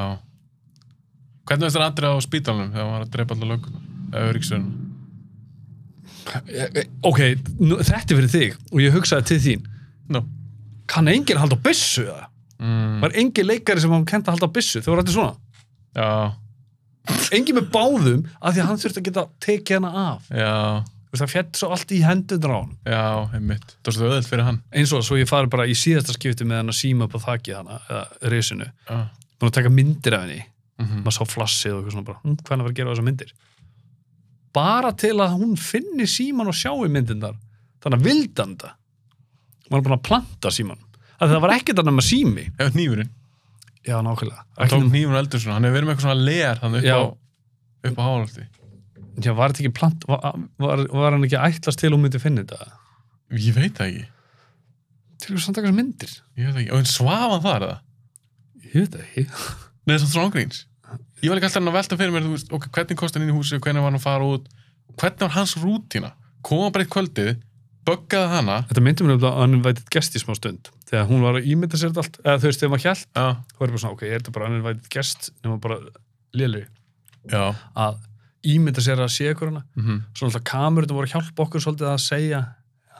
A: Hvernig veist það aðrið á spítalunum þegar hún var að dreipa allar löguna? Eða öryggsöðunum?
B: ok, nú, þetta er fyrir þig og ég hugsaði til þín
A: Nú.
B: kann enginn halda á byssu það
A: Mm.
B: var engin leikari sem hann kent að halda á byssu þau voru alltaf svona,
A: Já,
B: engin með báðum af því að hann þurfti að geta tekið hana af
A: já,
B: Þú veist, það fjett svo allt í hendur á hann
A: já, einmitt. Það var svo öðvöld fyrir hann.
B: eins og svo ég fari bara í síðasta skipti með hann að síma upp á þakið hana, eða risinu
A: Já.
B: búin að taka myndir af henni
A: Mm
B: maður sá flassið og eitthvað svona bara, hm, hvað hann var að gera á þessar myndir bara til að hún finni síman og sjáu myndindar þannig að vildanda maður er búin að planta síman að það var ekkert annað með sími
A: Hefur nýfurinn.
B: já, nákvæmlega
A: Hann tók
B: Ekki-
A: nýfurinn eldur svona. Hann hefur verið með eitthvað svona legar hann upp
B: Já.
A: á, upp á hálfaldi.
B: já, var þetta ekki plant var, var, var hann ekki að ætlast til að hún myndi finna þetta
A: Ég veit það ekki.
B: til þess að taka þessar myndir
A: Ég veit það ekki. Og hann svaf hann þar, eða?
B: ég veit það ekki
A: Nei, það er svona ángríns. Ég var líka alltaf að velta fyrir mér, þú veist, ok, hvernig kosti hann inn í húsi, hvernig var hann að fara út, hvernig var hans rútína? Kom hann bara eitt kvöldið, böggaði hana,
B: þetta myndi mér um að hann vætið gest í smá stund þegar hún var að ímynda sér þetta allt eða þú veist, þegar maður hjælt
A: já,
B: þá er bara svona, ok, er þetta bara hann vætið gest nema bara lélir
A: Já,
B: að ímynda sér að sé ykkur hana
A: mm
B: svo náttúrulega kamerunum voru að hjálpa okkur svolítið að segja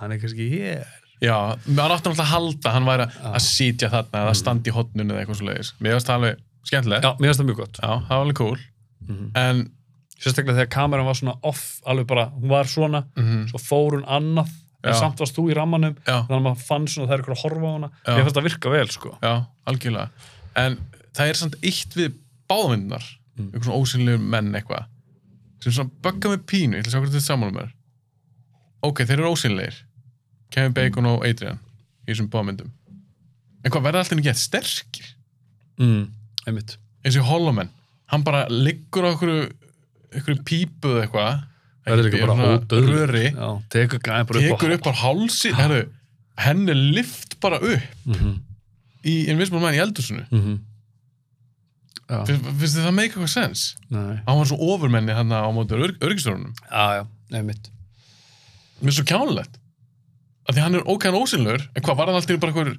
B: hann er kannski hér
A: já, hann átti náttúrulega að halda hann væri
B: Já.
A: að sitja þarna eða að standa í hotnun eða eitthvað svo leiðis Mér finnst það alveg skemmtilegt
B: já, mér finnst það mjög gott
A: Já, það var alveg cool
B: Mhm.
A: En,
B: sérstaklega þegar kameran var svona off alveg bara, hún var svona
A: mhm,
B: svo fór hún annað en
A: Já.
B: samt varst þú í rammanum
A: já,
B: þannig að maður fann svona að það er ykkur að horfa á hana
A: Já.
B: mér finnst það virka vel sko
A: já, algjörlega En það er samt eitt við báðvindunar
B: Mm.
A: einhver svona ósynlegur menn eitthvað sem svona bögga með pínu, ég ætla að sjá hvernig þetta sammála mér Ok, þeir eru ósynlegir
B: Mhm.
A: Kevin Bacon og Adrian í þessum báðvindum En hvað, verða alltaf ekki gett sterkir?
B: mm. einmitt
A: eins og Holloman hann bara liggur á okkur okkur pípu eða eitthvað
B: það er líka
A: Eitthvað
B: bara
A: svona
B: ódöðlegt.
A: röri,
B: já, tekur gæði bara upp
A: tekur upp á hálsin herru, henni lift bara upp
B: mm -hmm.
A: í Invisible Man í eldusinu
B: Mm -hmm. já,
A: Fin- finnst þið það make eitthvað sens
B: nei
A: hann var svo ofurmenni hann á móti örgistörunum
B: já, já, einmitt
A: mér er svo kjánlegt að því hann er ókæðan ósynlur en hvað var hann alltaf bara einhver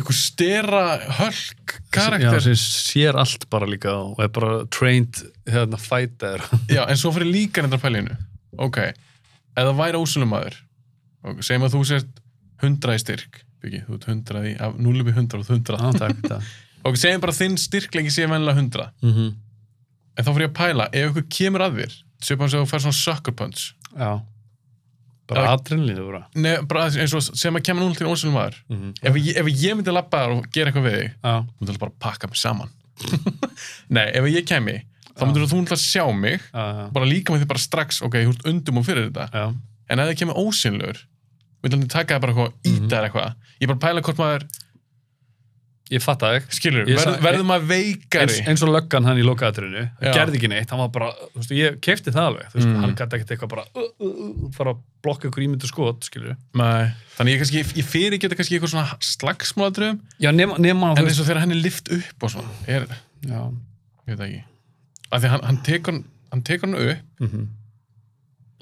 A: einhver stera hölk
B: Já,
A: karakter já,
B: sem sér allt bara líka og er bara trained hérna fighter
A: en svo fyrir líka nefndar pælinu ok, eða væri ósynlum maður ok, segjum að þú sért 100 í styrk Byggi, þú ert 100 í, af 0 upp í 100 og 100
B: ah, takk, takk.
A: ok, segjum bara að þinn styrkleiki sé venlega 100
B: Mm
A: en þá fyrir ég að pæla, ef ykkur kemur að þér svipað hans að þú fær svona sucker punch
B: Já bara
A: Já.
B: adrenalinu bara
A: Nei, bara eins og sem að kemur núna til ósynlum maður
B: mm
A: ef, ég- ef ég myndi lappa þar og gera eitthvað við þig
B: Já,
A: þú myndir bara að pakka mig saman nei, ef ég kemi þá myndir þú náttúrulega sjá mig
B: já, já,
A: bara líka með því bara strax, ok, þú ert undum og fyrir þetta
B: já
A: en ef það kemur ósynlur myndir hann taka það bara eitthvað,
B: Mhm.
A: íta þér eitthvað ég er bara að pæla hvort maður,
B: Ég fatt að ekki
A: skilur,
B: Ég
A: verð,
B: sa-
A: verður maður veikari
B: eins, eins og löggan hann í lokaðatrinu
A: Já.
B: gerði ekki neitt, hann var bara þú veist, ég kefti það alveg, þú veist,
A: Mm.
B: hann gæti ekkert eitthvað bara uh, uh, uh, fara að blokka ykkur ímyndu skot, skilur
A: Nei. þannig ég, kannski, ég fyrir geta kannski eitthvað svona slagsmáladröfum
B: Já, nema, nema
A: en eins og þegar hann er lift upp og svona er,
B: Já,
A: ég veit það ekki af því að hann, hann tekur hann, hann tekur hann upp
B: mhm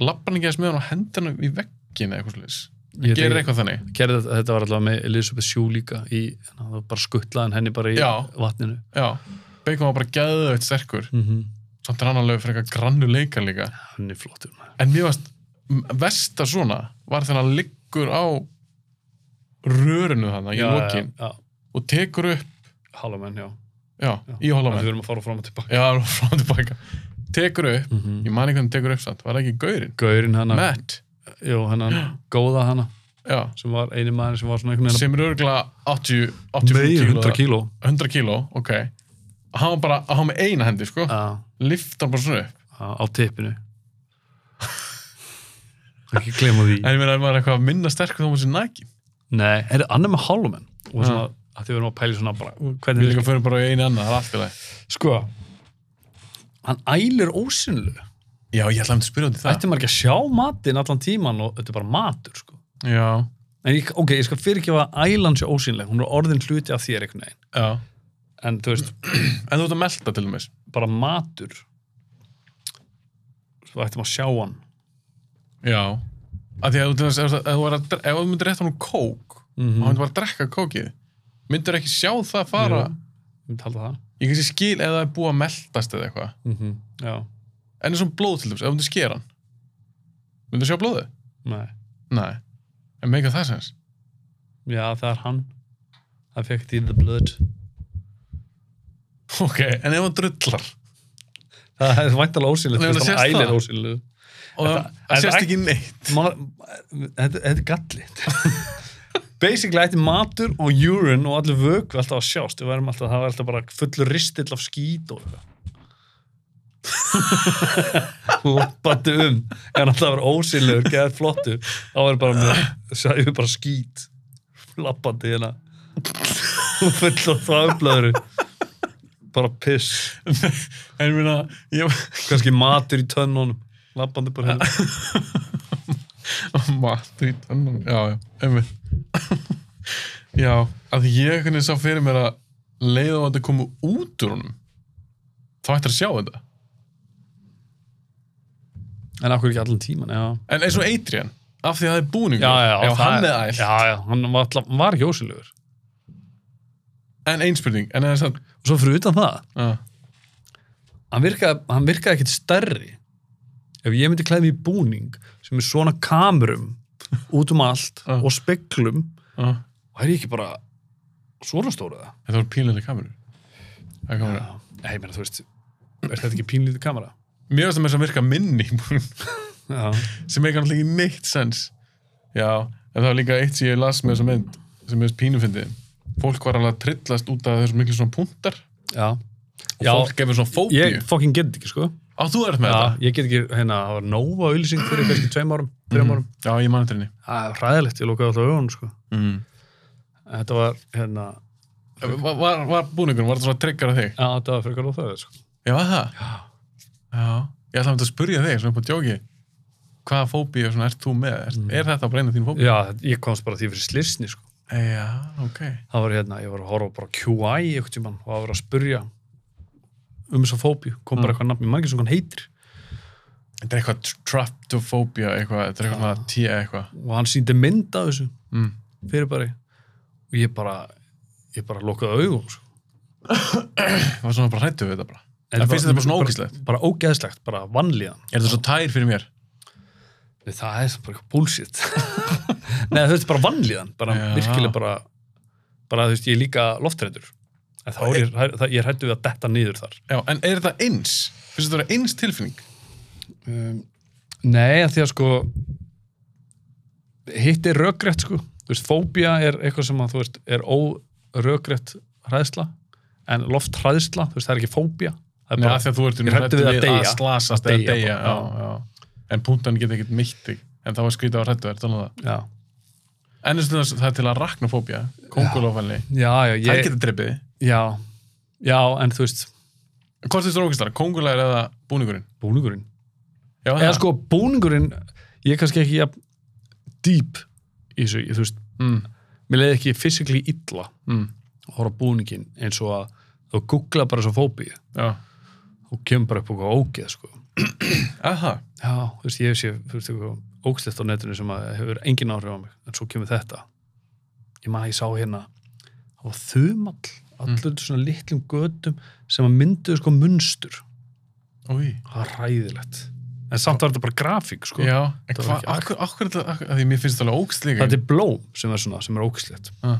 A: lappar hann ekki eða með hann og hendur hann í veggin eða eitthvað sliðis,
B: Ég veit
A: gerir
B: ekki-
A: eitthvað þannig
B: gerði þetta, þetta var allavega með Elisabeth Sjú líka í, hann var bara skuttlaðan henni bara í
A: Já.
B: vatninu
A: já, Bacon var bara gæðið sterkur
B: mm
A: samt er hann alveg fyrir eitthvað grannu leikar líka
B: hann er flottur maður.
A: en mér varst versta svona var þegar hann liggur á rörunu þannig í lokin
B: já,
A: og tekur upp
B: Halloween, já,
A: já,
B: já.
A: í
B: Þannig við
A: hólamenn
B: erum að fara fram og tilbaka
A: já, frá og tilbaka tekur upp,
B: mm -hmm.
A: ég man ekki hvernig tekur upp samt var það ekki gaurinn,
B: Gaurin hana,
A: Matt
B: jú, hana góða hana,
A: já,
B: sem var eini maður sem var svona einhvern veginn
A: sem er örgulega 80,
B: að-
A: 85
B: Meir,
A: kíló
B: 100 kíló
A: 100 kíló, ok hann var bara, hann var með eina hendi sko
B: á,
A: lifta hann bara svona upp
B: á, á tippinu ekki glema því
A: en ég meina, ef maður er eitthvað minna sterkur þá maður sér nækin
B: nei, er það annar með Halloween og svona, að því við erum að pæli svona bara hvernig
A: við líka fyrir bara í einu annað, það er allt í lagi
B: sko hann ælir ósynlu
A: Já, ég ætlaði að spyrja út í það.
B: ætti maður ekki að sjá matinn allan tíman og þetta er bara matur sko.
A: Já,
B: en ég, ok, ég skal fyrirgefa að ælan sé ósýnleg, hún er orðin hluti af þér einhvern veginn,
A: já.
B: en þú veist
A: En þú ert að melta til dæmis.
B: bara matur svo ætti maður að sjá hann
A: Já. Af því að þú til dæmis, ef þú- ef þú er að dre- ef þú myndir rétt hann um kók,
B: mm
A: og hann myndir bara að drekka kókið, myndir ekki sjá það fara.
B: Jú. ég myndi halda það
A: Ég kannski skil ef það er búið að meltast eða eitthvað.
B: mm já,
A: En eins og blóð til dæmis, ef þú myndir skera hann, myndir sjá blóðið?
B: nei,
A: Nei. En meika það sens.
B: já það er hann I fekk því the blood
A: Ok, en ef hann drullar,
B: það er væntalega ósýnleg,
A: Nei,
B: þú veist
A: það
B: hann
A: sést
B: ælir
A: það.
B: ósýnleg
A: og
B: Þetta-
A: það
B: þetta-
A: sést ekki neitt.
B: þetta þetta er galli basically ætti matur og urine og allir vöku alltaf að sjást, við værum alltaf, það var alltaf bara fullur ristill af skít og lappandi um en alltaf var ósynlegur, geðað flottur þá var bara með, sæðu bara skít lappandi hérna og full af þvæflöðru bara piss
A: En ég meina, ég...
B: kannski matur í tönnunum lappandi bara hérna
A: Matur í tönnum Já, já, einmitt Já, að því ég hvernig sá fyrir mér að leið á að þetta komu út úr honum þá ættir að sjá þetta
B: en akkur ekki allan tíman, já
A: En eins og Adrian, af því að það er búningur
B: já, já,
A: ef
B: það-
A: hann er æl
B: já, já, hann var, alltaf, hann var ekki ósynlegur
A: En einspurning, en það er samt
B: og svo fyrir utan það
A: uh,
B: hann virkaði, hann virkaði ekkit stærri ef ég myndi klæði mig í búning sem er svona kamerum út um allt
A: Já.
B: og speklum
A: uh,
B: væri ég ekki bara svona stóra það
A: Þetta voru pínlega kamerur Það er kamera
B: Nei, ég meina, þú veist, er þetta ekki pínlítið kamera?
A: Mér finnst það með þess að virka minni í búning,
B: Já,
A: sem er kannski ekki neitt sens Já, en það var líka eitt sem ég las með þessa mynd sem ég veist pínu fyndi Fólk var alveg að trillast út af þessum miklu svona punktar
B: já,
A: og
B: Já.
A: fólk gefur svona fóbíu
B: ég fucking get þetta ekki, sko
A: Á, þú ert með
B: Já,
A: þetta?
B: ég get ekki, hérna, það var nóva auðlýsing fyrir kannski tveim árum, þreim árum
A: Já, ég mann eftir henni.
B: Það er hræðilegt, ég lokaði alltaf auðan, sko
A: Mm.
B: Þetta var, hérna,
A: Eh, Var, var, var búningur, var þetta svona tryggar af þig?
B: Já, þetta var frekar óþægilegt, sko.
A: Já, var það? Já. Ég ætla að að spyrja þig, svona upp á djóki, hvaða fóbíu svona ert þú með? Er, er þetta bara eina þín fóbíu?
B: Já, ég komst bara að því fyrir slisni, sko.
A: Já, ok.
B: Það var hérna, ég var að horfa bara á QI einhvern tímann og það
A: Mm.
B: var að spurja um þessa fóbíu, kom bara eitthvað nafn, ég maður ekki sem hann heitir.
A: Þetta er eitthvað traptophobia eitthvað, þetta er eitthvað svona tía eitthvað.
B: og hann síndi mynd af þessu
A: Mm.
B: fyrir bara og ég bara, ég bara lokaði augum sko.
A: Ég var svona bara hrættu við þetta bara.
B: En
A: En finnst þetta bara svona ógíslegt?
B: bara ógeðslegt, bara vannlíðan
A: Er þetta svo tær fyrir mér?
B: Nei, það er samt bara eitthvað bullshit Nei, þú veist, bara vannlíðan bara
A: Já.
B: virkilega bara bara, þú veist, ég er líka loftrættur en þá er ég, það- ég er hættu við að detta niður þar
A: Já, en er þetta eins? Finnst þetta vera eins tilfinning?
B: um, Nei, af því að sko hitt er rökrétt, sko þú veist, fóbía er eitthvað sem að, þú veist, er órökrétt hræðsla en lofthræðsla, þú veist, það er ekki fóbía það er
A: Nei,
B: bara,
A: af því að þú ert
B: Ég er hræddur
A: hræddur
B: við að deyja.
A: að slasast
B: Að
A: eða
B: deyja
A: deyja.
B: bara,
A: Já, já. En punktan geta ekkert meitt þig. En það var skrítið að hrættu þér, þannig að það.
B: já,
A: En eins og þess- það er til að raknafóbia, kongulofælni.
B: já, já,
A: Það
B: ég,
A: geta dreipið þig.
B: já já, en þú veist,
A: Hvort finnst þér ógíslara, kongulæður eða búningurinn?
B: búningurinn
A: Já,
B: eða
A: það.
B: sko búningurinn ég er kannski ekki jafn dýp í þessu, ég, þú veist,
A: Mm,
B: mér leiði ekki fysikli illa
A: mm,
B: að horfa á búningin eins og að þú googla bara svo fóbíu
A: já.
B: og kemur bara upp eitthvað ógeð sko.
A: Aha.
B: já, þú veist, ég sé þú veist, eitthvað ógeðslegt á netinu sem að hefur engin áhrif á mig en svo kemur þetta ég maður ég sá hérna það var þumall, allur svona litlum götum sem að mynduðu sko munstur
A: Úi.
B: það var ræðilegt en samt var þetta bara grafík sko.
A: Já, en
B: Það var
A: hvað,
B: ekki
A: akkur, akkur, akkur, akkur, því mér finnst það alveg ógst líka.
B: þetta er blóm sem er svona, sem er ógeðslegt
A: Ah.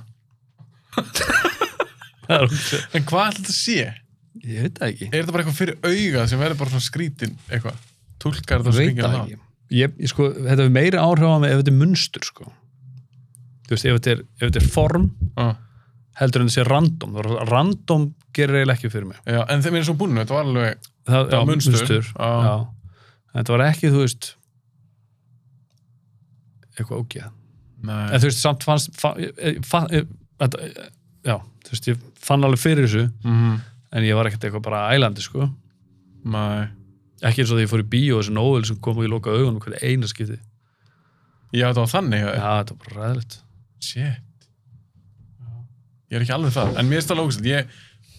B: það er ógeðslegt
A: En hvað ætla þetta sé?
B: Ég veit það ekki.
A: Er þetta bara eitthvað fyrir augað sem verður bara svona skrítin eitthvað? Tólkar þetta
B: Ég
A: og
B: veit
A: skringir
B: það
A: um það?
B: ekki. Ég, ég sko, þetta er meira áhrif á mig ef þetta er munstur, sko. Þú veist, ef þetta er, ef þetta er form,
A: Ah,
B: heldur en þetta sé random. Það er- Random gerir eiginlega ekki fyrir mig.
A: já, en þeim er svo búinu, þetta var alveg...
B: Það,
A: Já, munstur.
B: Já.
A: Já.
B: En Þetta var ekki, þú veist, eitthvað ógeð. En
A: Nei.
B: þú veist, samt fannst, fa, e, fa, e, þetta, e, já, þú veist, ég fann alveg fyrir þessu,
A: Mm,
B: en ég var ekkert eitthvað bara ælandi, sko.
A: nei.
B: Ekki eins og þegar ég fór í bíó, þessi nóvel sem kom og ég lokaði augunum hvernig eina skipti.
A: Já, þetta var þannig. Já.
B: Já, þetta var bara ræðilegt.
A: Shit. Ég er ekki alveg það. En mér finnst það alveg ógst. Ég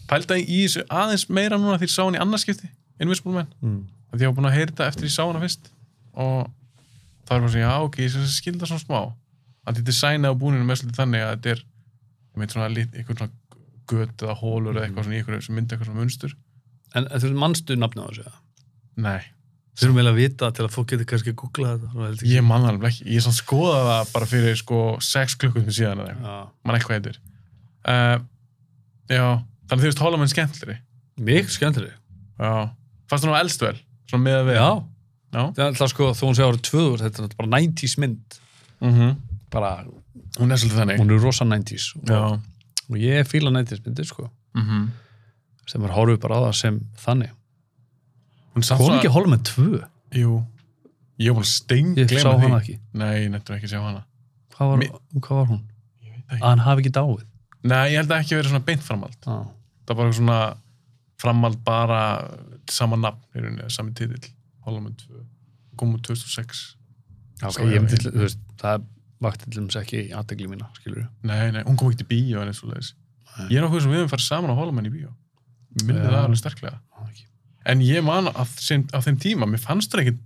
A: pældi í þessu aðeins meira núna því ég sá hann í annarskipti, Invisible Man.
B: Mm.
A: Af Því ég var búin að heyra þetta eftir ég sá hana fyrst. Og það var bara svona, já, ok, ég sé að skilda svona smá. Að því designað á búninu með svolítið þannig að þetta er, ég meit svona, lit- eitthvað svona gött eða hólur eða eitthvað svona í eitthvað sem myndi eitthvað svona munstur.
B: En en þú veist, mannstu nafnum á þessu? eða?
A: Nei,
B: Við þurfum eiginlega að vita til að fólk getur kannski að googla þetta. Það er heldur ekki-
A: ég man það alveg ekki. Ég svona skoða það bara fyrir sko 6 klukkundum síðan eða eitthvað.
B: Já.
A: Man eitthvað heitir. Uh, já, þannig að þú veist hólamenn skemmtleri.
B: Mikið skemmtileg.
A: Já. Fannst hún á elst vel, svona með að við.
B: Já.
A: Já.
B: Það er alltaf sko, þó hún sé árið 2000, þetta er náttúrulega bara 90s mynd.
A: Mhm.
B: Bara,
A: Hún er svolítið þannig.
B: hún er rosa 90s.
A: Já.
B: Og, og ég fíla 90s myndir, sko.
A: Mhm.
B: Sem er horfið bara á það sem þannig.
A: Hún samt
B: Hún
A: svona-
B: ekki holið með tvö.
A: Jú Ég var bara steing
B: Ég sá hana ekki.
A: Nei, nettur ekki að sjá hana
B: Hvað var,
A: Mi-
B: hvað var hún?
A: Ég veit það
B: Að hann hafi ekki dáið. Ah.
A: Nei, ég held að ekki verið svona beint framhald
B: Já.
A: Það var bara svona framhald bara sama nafn í rauninni, eða sami titill Holland 2 kom úr 2006
B: Ok,
A: Sá
B: Sko, ég
A: ég
B: myndi,
A: hana.
B: þú veist, það vakti til dæmis ekki aðdegli mína, skilur
A: Nei, nei, hún kom ekki til bíó en eins og leiðis
B: Nei.
A: Ég er nokkuð sem við höfum farið saman á Holland í bíó Minnið
B: Já.
A: það alveg sterklega En ég man að sem, á þeim tíma mér fannst það ekkit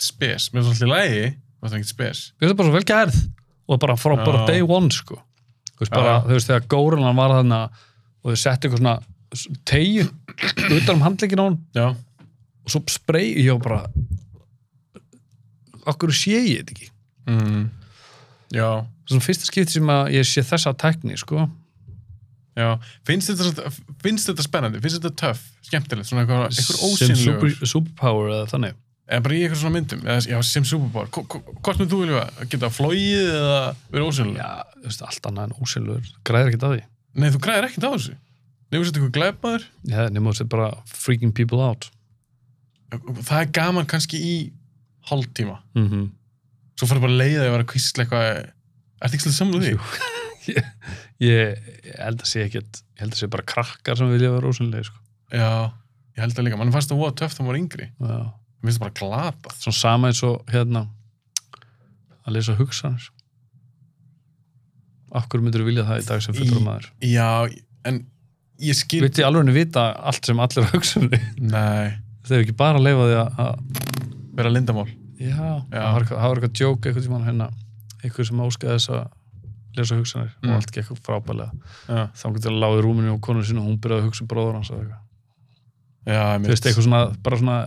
A: spes Mér fannst alltaf lægi, mér fannst það ekkit spes
B: Mér finnst það bara svo vel gerð og bara frá bara
A: Já.
B: day one sko þú veist, bara,
A: Já.
B: þú veist þegar górunan var þarna og þau settu eitthvað svona tegju utan um handleikin á hún
A: Já,
B: og svo sprey ég var bara okkur sé ég þetta ekki
A: mm. já
B: svona fyrsta skipti sem að ég sé þessa tækni sko
A: Já, finnst þetta, finnst þetta spennandi, finnst þetta töff, skemmtilegt, svona eitthvað, eitthvað
B: sem
A: ósynlugur,
B: super, superpower eða þannig
A: eða bara í eitthvað svona myndum, eða, já, sem superpower, Hvo- hvo- hvort með þú vilja að geta flóið eða verið ósynlugur?
B: já, þú veist, allt annað en ósynlugur græðir ekki að því
A: Nei, þú græðir ekkert á þessu. Nefnum þetta eitthvað glæpaður,
B: Já, nema þú veist bara freaking people out
A: það er gaman kannski í hálftíma,
B: mm
A: svo farið bara leiðið að vera að kvísla eitthvað, ertu ekki svolítið samluð því?
B: Jú. ég, ég held að sé ekkert ég held að sé bara krakkar sem vilja vera ósynlega sko.
A: Já, ég held það líka, mann fannst það óa töff þegar maður var yngri,
B: Já.
A: mér finnst það bara glatað.
B: svona sama eins og hérna að lesa sko. hugsanir Akkur myndur vilja það í dag sem fullur
A: Í-
B: maður
A: Já, en ég skil,
B: um Vilt ég alveg henni vita allt sem allir hugsanir
A: nei,
B: Þegar ekki bara að leifa því að- að
A: vera lindamál
B: Já, það var eitthvað- það var eitthvað djók eitthvað tíma hérna, eitthvað sem áskaði þess að lesa hugsanir
A: Mm.
B: og allt gekk frábælega
A: já,
B: þá getur það láði rúminu og konu sinni og hún byrjaði að hugsa um bróður hans eða eitthvað.
A: já
B: Þú veist, eitthvað svona, bara svona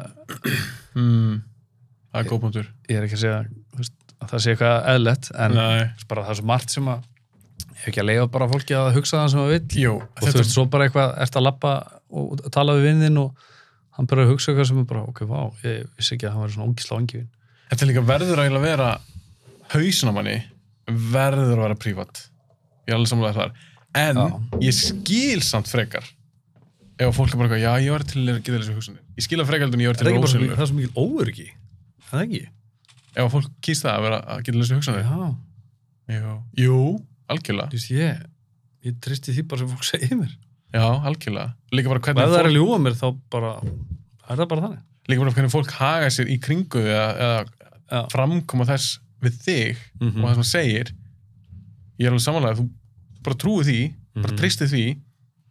A: mm, það er góð punktur
B: ég er ekki að segja þú veist, að það sé eitthvað eðlett en
A: Nei.
B: bara það er svo margt sem að ég hef ekki að leifa bara fólki að hugsa það sem það vill
A: Jú,
B: og þú veist, svo bara eitthvað, ert að labba og og tala við vinninn og hann byrjar að hugsa eitthvað sem er bara, ok, vá, ég vissi ekki að hann var svona ógisla vangivinn.
A: Þetta er líka verður eiginlega að vera hausin á manni verður að vera prívat ég er alveg samlega þar en
B: Já.
A: ég skil samt frekar ef að fólk er bara eitthvað, já ég var til að geta þessu hugsunni ég skil að frekar heldur en ég var
B: Það
A: til
B: er
A: að
B: ekki bara svo,
A: ósynlur
B: það er svo mikil óöryggi. Það er ekki?
A: ef að fólk kýst það að vera að geta þessu hugsunni
B: Já,
A: Jú. Jú, algjörlega
B: þú veist, ég, ég tristi því bara sem fólk segir mér.
A: Já, algjörlega Líka bara
B: Og
A: hvernig
B: ef það er
A: fólk,
B: að ljúa mér, þá bara, er það bara þannig.
A: líka bara hvernig fólk haga sér í kringu eða, eða
B: Já.
A: framkoma þess við þig
B: Mhm.
A: og það sem hann segir ég er alveg samanlega þú bara trúið því, bara
B: Mhm.
A: treystið því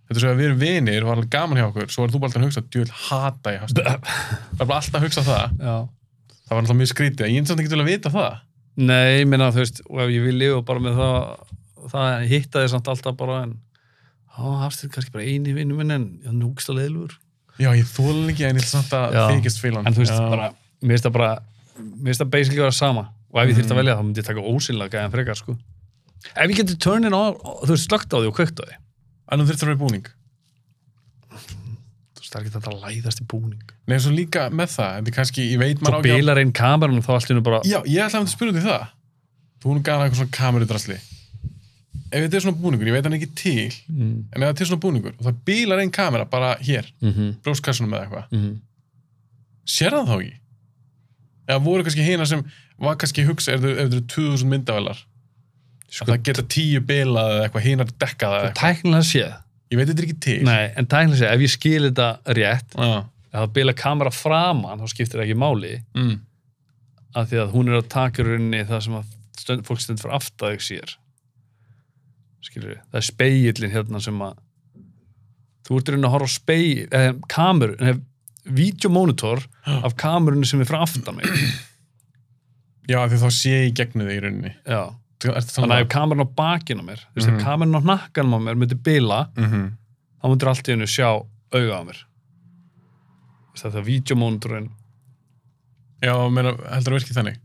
A: þetta er svo að við erum vinir og það er alveg gaman hjá okkur svo er þú bara alltaf að hugsa, djúvel hata ég hafst það er bara alltaf að hugsa það
B: Já.
A: það var alltaf mjög skrítið, ég er samt ekki til að vita það
B: Nei, ég minna, þú veist, og ef ég vil lifa bara með það, það hitta þér samt alltaf bara en þá hafst þér kannski bara eini vinnu minn en já, núgst að leiðlur.
A: já, ég þól ekki en ég ætla samt að
B: Já.
A: þykist fílan
B: En þú veist,
A: já.
B: bara, mér finnst það bara, mér finnst það basically vera sama og ef ég
A: Mm.
B: þyrfti að velja þá myndi ég taka ósynlega gæðan frekar, sko. Ef ég geti turnin á, þú veist, slögt á því og kveikt á því,
A: en þú þurftur að vera í búning
B: þú veist, það er ekki þetta að læðast í búning.
A: Nei, svo líka með það, þetta er kannski, ég veit
B: Svo
A: maður á ekki að-
B: bilar einn kameran og þá allt í hennu bara,
A: Já, ég ætla að spyrja út í það Þú hún gana eitthvað svona kamerudrasli Ef þetta er svona búningur, ég veit hann ekki til
B: mm.
A: en ef það er til svona búningur og það bílar einn kamera bara hér,
B: Mm -hmm.
A: brjóskassunum eða eitthvað
B: mm-hmm.
A: sér það þá ekki? eða voru kannski hina sem var kannski hugsa ef þau ef þau eru 2000 myndavelar
B: Sko,
A: að það geta 10 bilað eða eitthvað hinar dekkað eða eitthvað,
B: tæknilega séð,
A: ég veit þetta er ekki til
B: nei, en tæknilega séð, ef ég skil þetta rétt,
A: Já,
B: ef það bila kamera framan þá skiptir það ekki máli
A: mm.
B: af því að hún er að taka í rauninni það sem að stund, fólk stendur fyrir aftaðu sér skilur við, það er speigillin hérna sem að þú ert í rauninni að horfa á speigil eh, kamer, eh, videomonitor af kamerunni sem er fyrir aftan mig
A: Já af því þá sé ég í gegnum þig í rauninni
B: já,
A: Þú- ertu
B: þannig
A: þannig
B: að ef kamerun á bakinu á mér þú veist, ef
A: Mhm.
B: kamerun á hnakkanum á mér myndi bila,
A: mm -hmm.
B: þá myndir allt í hennu sjá auga á mér Þú veist, þetta er videomonitorinn
A: Já, meina, heldur það virkið þannig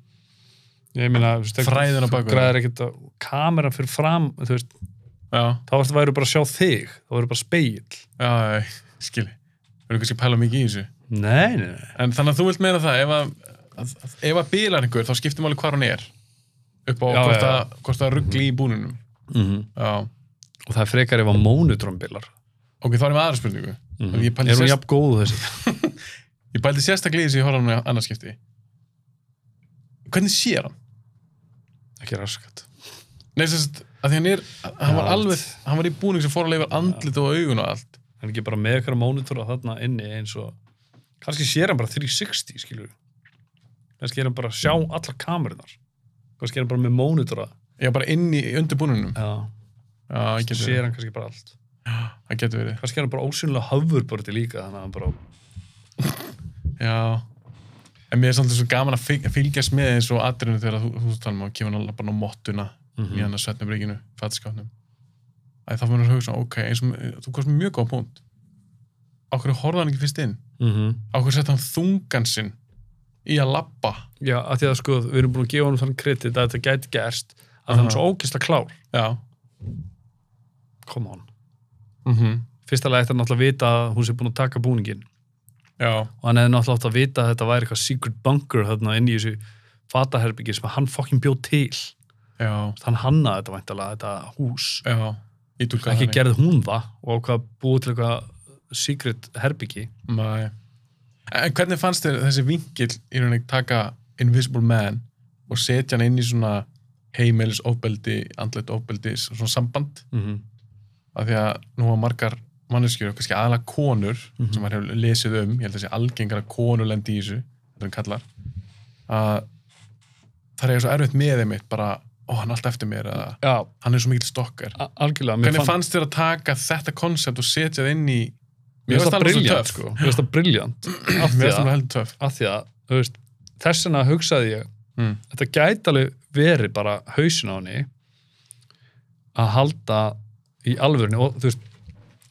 B: ég meina, þú veist,
A: Fræðin á
B: þú
A: bak við
B: græðir ekkert að kameran fyrir fram, þú veist,
A: Já,
B: þá ertu væri bara að sjá þig, þá verður bara speil
A: já, ég- skil Við erum kannski að pæla mikið í þessu
B: Nei, nei, nei.
A: En þannig að þú vilt meina það, ef að, að, að, ef að bílar einhver, þá skiptir máli hvar hann er upp á
B: Já,
A: hvort,
B: já, já.
A: Að, hvort það ruggli í búninum. Já.
B: Mhm. og það er frekar ef að mónutrombilar
A: Ok, þá erum við aðra spurningu. Mm Ég,
B: Mhm. er
A: pældi
B: hún
A: sérst,
B: jafn góð þessi
A: ég pældi sérstaklega í þessu í horfanum í annarskipti. Hvernig sér hann?
B: ekki raskat
A: Nei, sérst, að því hann er, hann var
B: Já,
A: alveg, hann var í búning sem fór að leifa andlit og augun og allt.
B: en ekki bara með eitthvað mónutora þarna inni eins og kannski sér hann bara 360 skilur við. kannski er hann bara að sjá allar kamerunar kannski er hann bara með mónutora
A: Já, bara inn í undir búninum.
B: já,
A: Já, ég getur
B: sér
A: verið.
B: hann kannski bara allt
A: Það getur verið.
B: kannski er hann bara ósynlega höfurborti líka þannig að hann bara
A: Já. En mér er svolítið svo gaman að fylg- fylgjast með eins og atrinu þegar þú, þú talum og kemur hann alveg bara á mottuna í hann að svefnubríkinu, fattskapnum. Æ, þá fyrir hann að hugsa, ok, eins og þú komst með mjög góða punkt. Á hverju horfði hann ekki fyrst inn?
B: mm -hmm.
A: Á hverju sett hann þungan sinn í að labba?
B: já, að því að sko, við erum búin að gefa hann þann kredit að þetta gæti gerst að hann er svo ókisla klár
A: Já.
B: come on
A: Mm
B: fyrsta lagi ætti hann náttúrulega að vita að hún sé búin að taka búningin
A: Já.
B: og hann hefði náttúrulega átt að vita að þetta væri eitthvað secret bunker þarna inn í þessu fataherbyggi sem hann fokkin bjóð til
A: Já.
B: hann hannaði þetta væntalega, þetta hús
A: Já. Ég tólka
B: ekki gerði hún það og ákvað að búið til eitthvað secret herbyggi
A: Nei. En hvernig fannst þér þessi vinkill í rauninni taka Invisible Man og setja hann inn í svona heimilis ofbeldi, andlet ofbeldi, svona samband?
B: mm -hmm.
A: af því að nú var margar manneskjur og kannski aðalega konur
B: Mhm.
A: sem maður hefur lesið um, ég held að þessi algengara konulendi í þessu, þetta er kallar að það er svo erfitt með þeim mitt, bara ó, hann er alltaf eftir mér, eða
B: já,
A: hann er svo mikill stokkar
B: a- algjörlega mér
A: hvernig
B: fann-
A: fannst þér að taka þetta koncept og setja það inn í
B: mér finnst það sko.
A: alveg svo töff.
B: briljant sko. mér finnst það briljant af
A: mér
B: því
A: finnst það
B: að,
A: heldur töff
B: af því að þú veist, þess vegna hugsaði ég
A: Mm.
B: þetta gæti alveg verið bara hausin á henni að halda í alvörinu og þú veist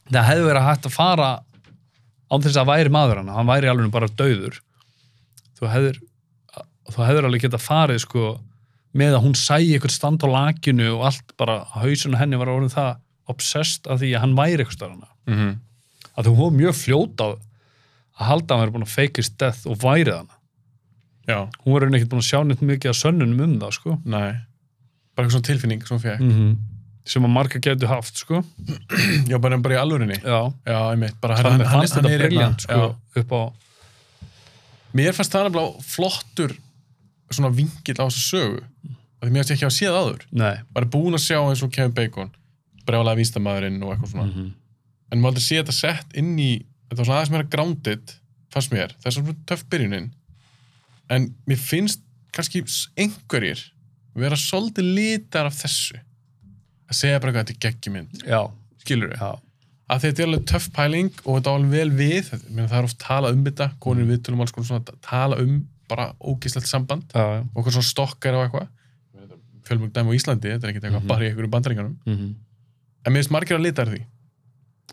B: það hefði verið hægt að fara án þess að væri maður hann hann væri í alvörinu bara dauður þú hefðir þú hefðir alveg geta farið sko með að hún sæi eitthvað stand á lakinu og allt bara hausin á henni var orðin það obsessed af því að hann væri eitthvað starf hana
A: Mm -hmm.
B: að hún var mjög fljót á að halda að hann væri búin að fake his death og værið hana
A: Já,
B: hún var einhvern veginn búin að sjá neitt mikið að sönnunum um það sko.
A: næ. Bara eitthvað svona tilfinning sem hún fekk.
B: -hmm. sem að marga getur haft sko.
A: Já, bara, bara í alvörinni.
B: já,
A: Já, einmitt. Bara
B: hann, hann, hann er þetta
A: hérna,
B: briljant sko,
A: já.
B: upp á
A: Mér fannst það nefnilega flottur svona vingill á þessu sögu. Af Því mér fannst ég ekki að séð áður.
B: nei,
A: Bara búin að sjá eins og Kevin Bacon, brjálega vístamæðurinn og eitthvað svona.
B: mm -hmm.
A: en maður aldrei sé þetta sett inn í þetta var svona aðeins meira grounded fannst mér, það er svona töff byrjunin en mér finnst kannski s- einhverjir vera svolítið litar af þessu að segja bara hvað þetta er geggjumynd
B: já,
A: skilur við,
B: já,
A: að þetta er alveg töff pæling og þetta á alveg vel við Þetta- meina, það er oft talað um þetta, konur í viðtölum og alls konar svona ta- tala um bara ógislegt samband
B: já, já.
A: og hvað svona stokkar og eitthvað fjölmögn dæmi á Íslandi, þetta er ekkert eitthvað
B: Mhm.
A: bara í einhverjum bandaringunum
B: Mm -hmm.
A: en mér finnst margir að lita þær því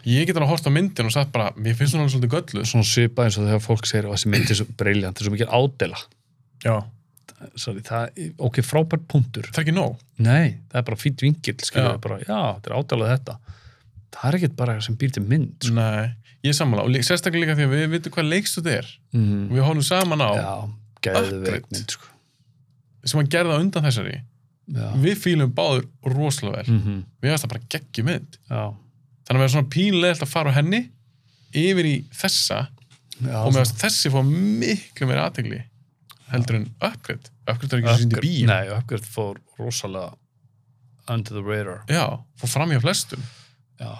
A: ég get alveg hort á myndin og sagt bara mér finnst hún alveg svolítið göllu
B: svona svipa eins og þegar fólk segir að þessi myndi er svo briljant, þessu mikið ádela
A: já.
B: Sorry, það, ok, frábært punktur
A: það er ekki nóg
B: nei, það er bara fýtt vingill
A: Já.
B: já. Bara, já, þetta er ádelað þetta það er ekkert bara sem býr til mynd sko.
A: Nei. ég er sammála og lí- sérstaklega líka því að við vitum hvað leikstu þetta er
B: mm
A: og við horfum saman á
B: já, gæðið
A: Upgrade.
B: mynd sko.
A: sem hann gerði á undan þessari
B: já.
A: við fýlum báður rosalega vel
B: Mm
A: við erum það bara geggjum mynd
B: já,
A: þannig að við erum svona pínlegt að fara á henni yfir í þessa
B: já
A: og með að þessi fór miklu meira aðtegli heldur en upgrade upgrade er ekki sem síndi
B: Upgrade,
A: bíl
B: nei, Upgrade fór rosalega under the radar
A: já, fór fram hjá flestum
B: já,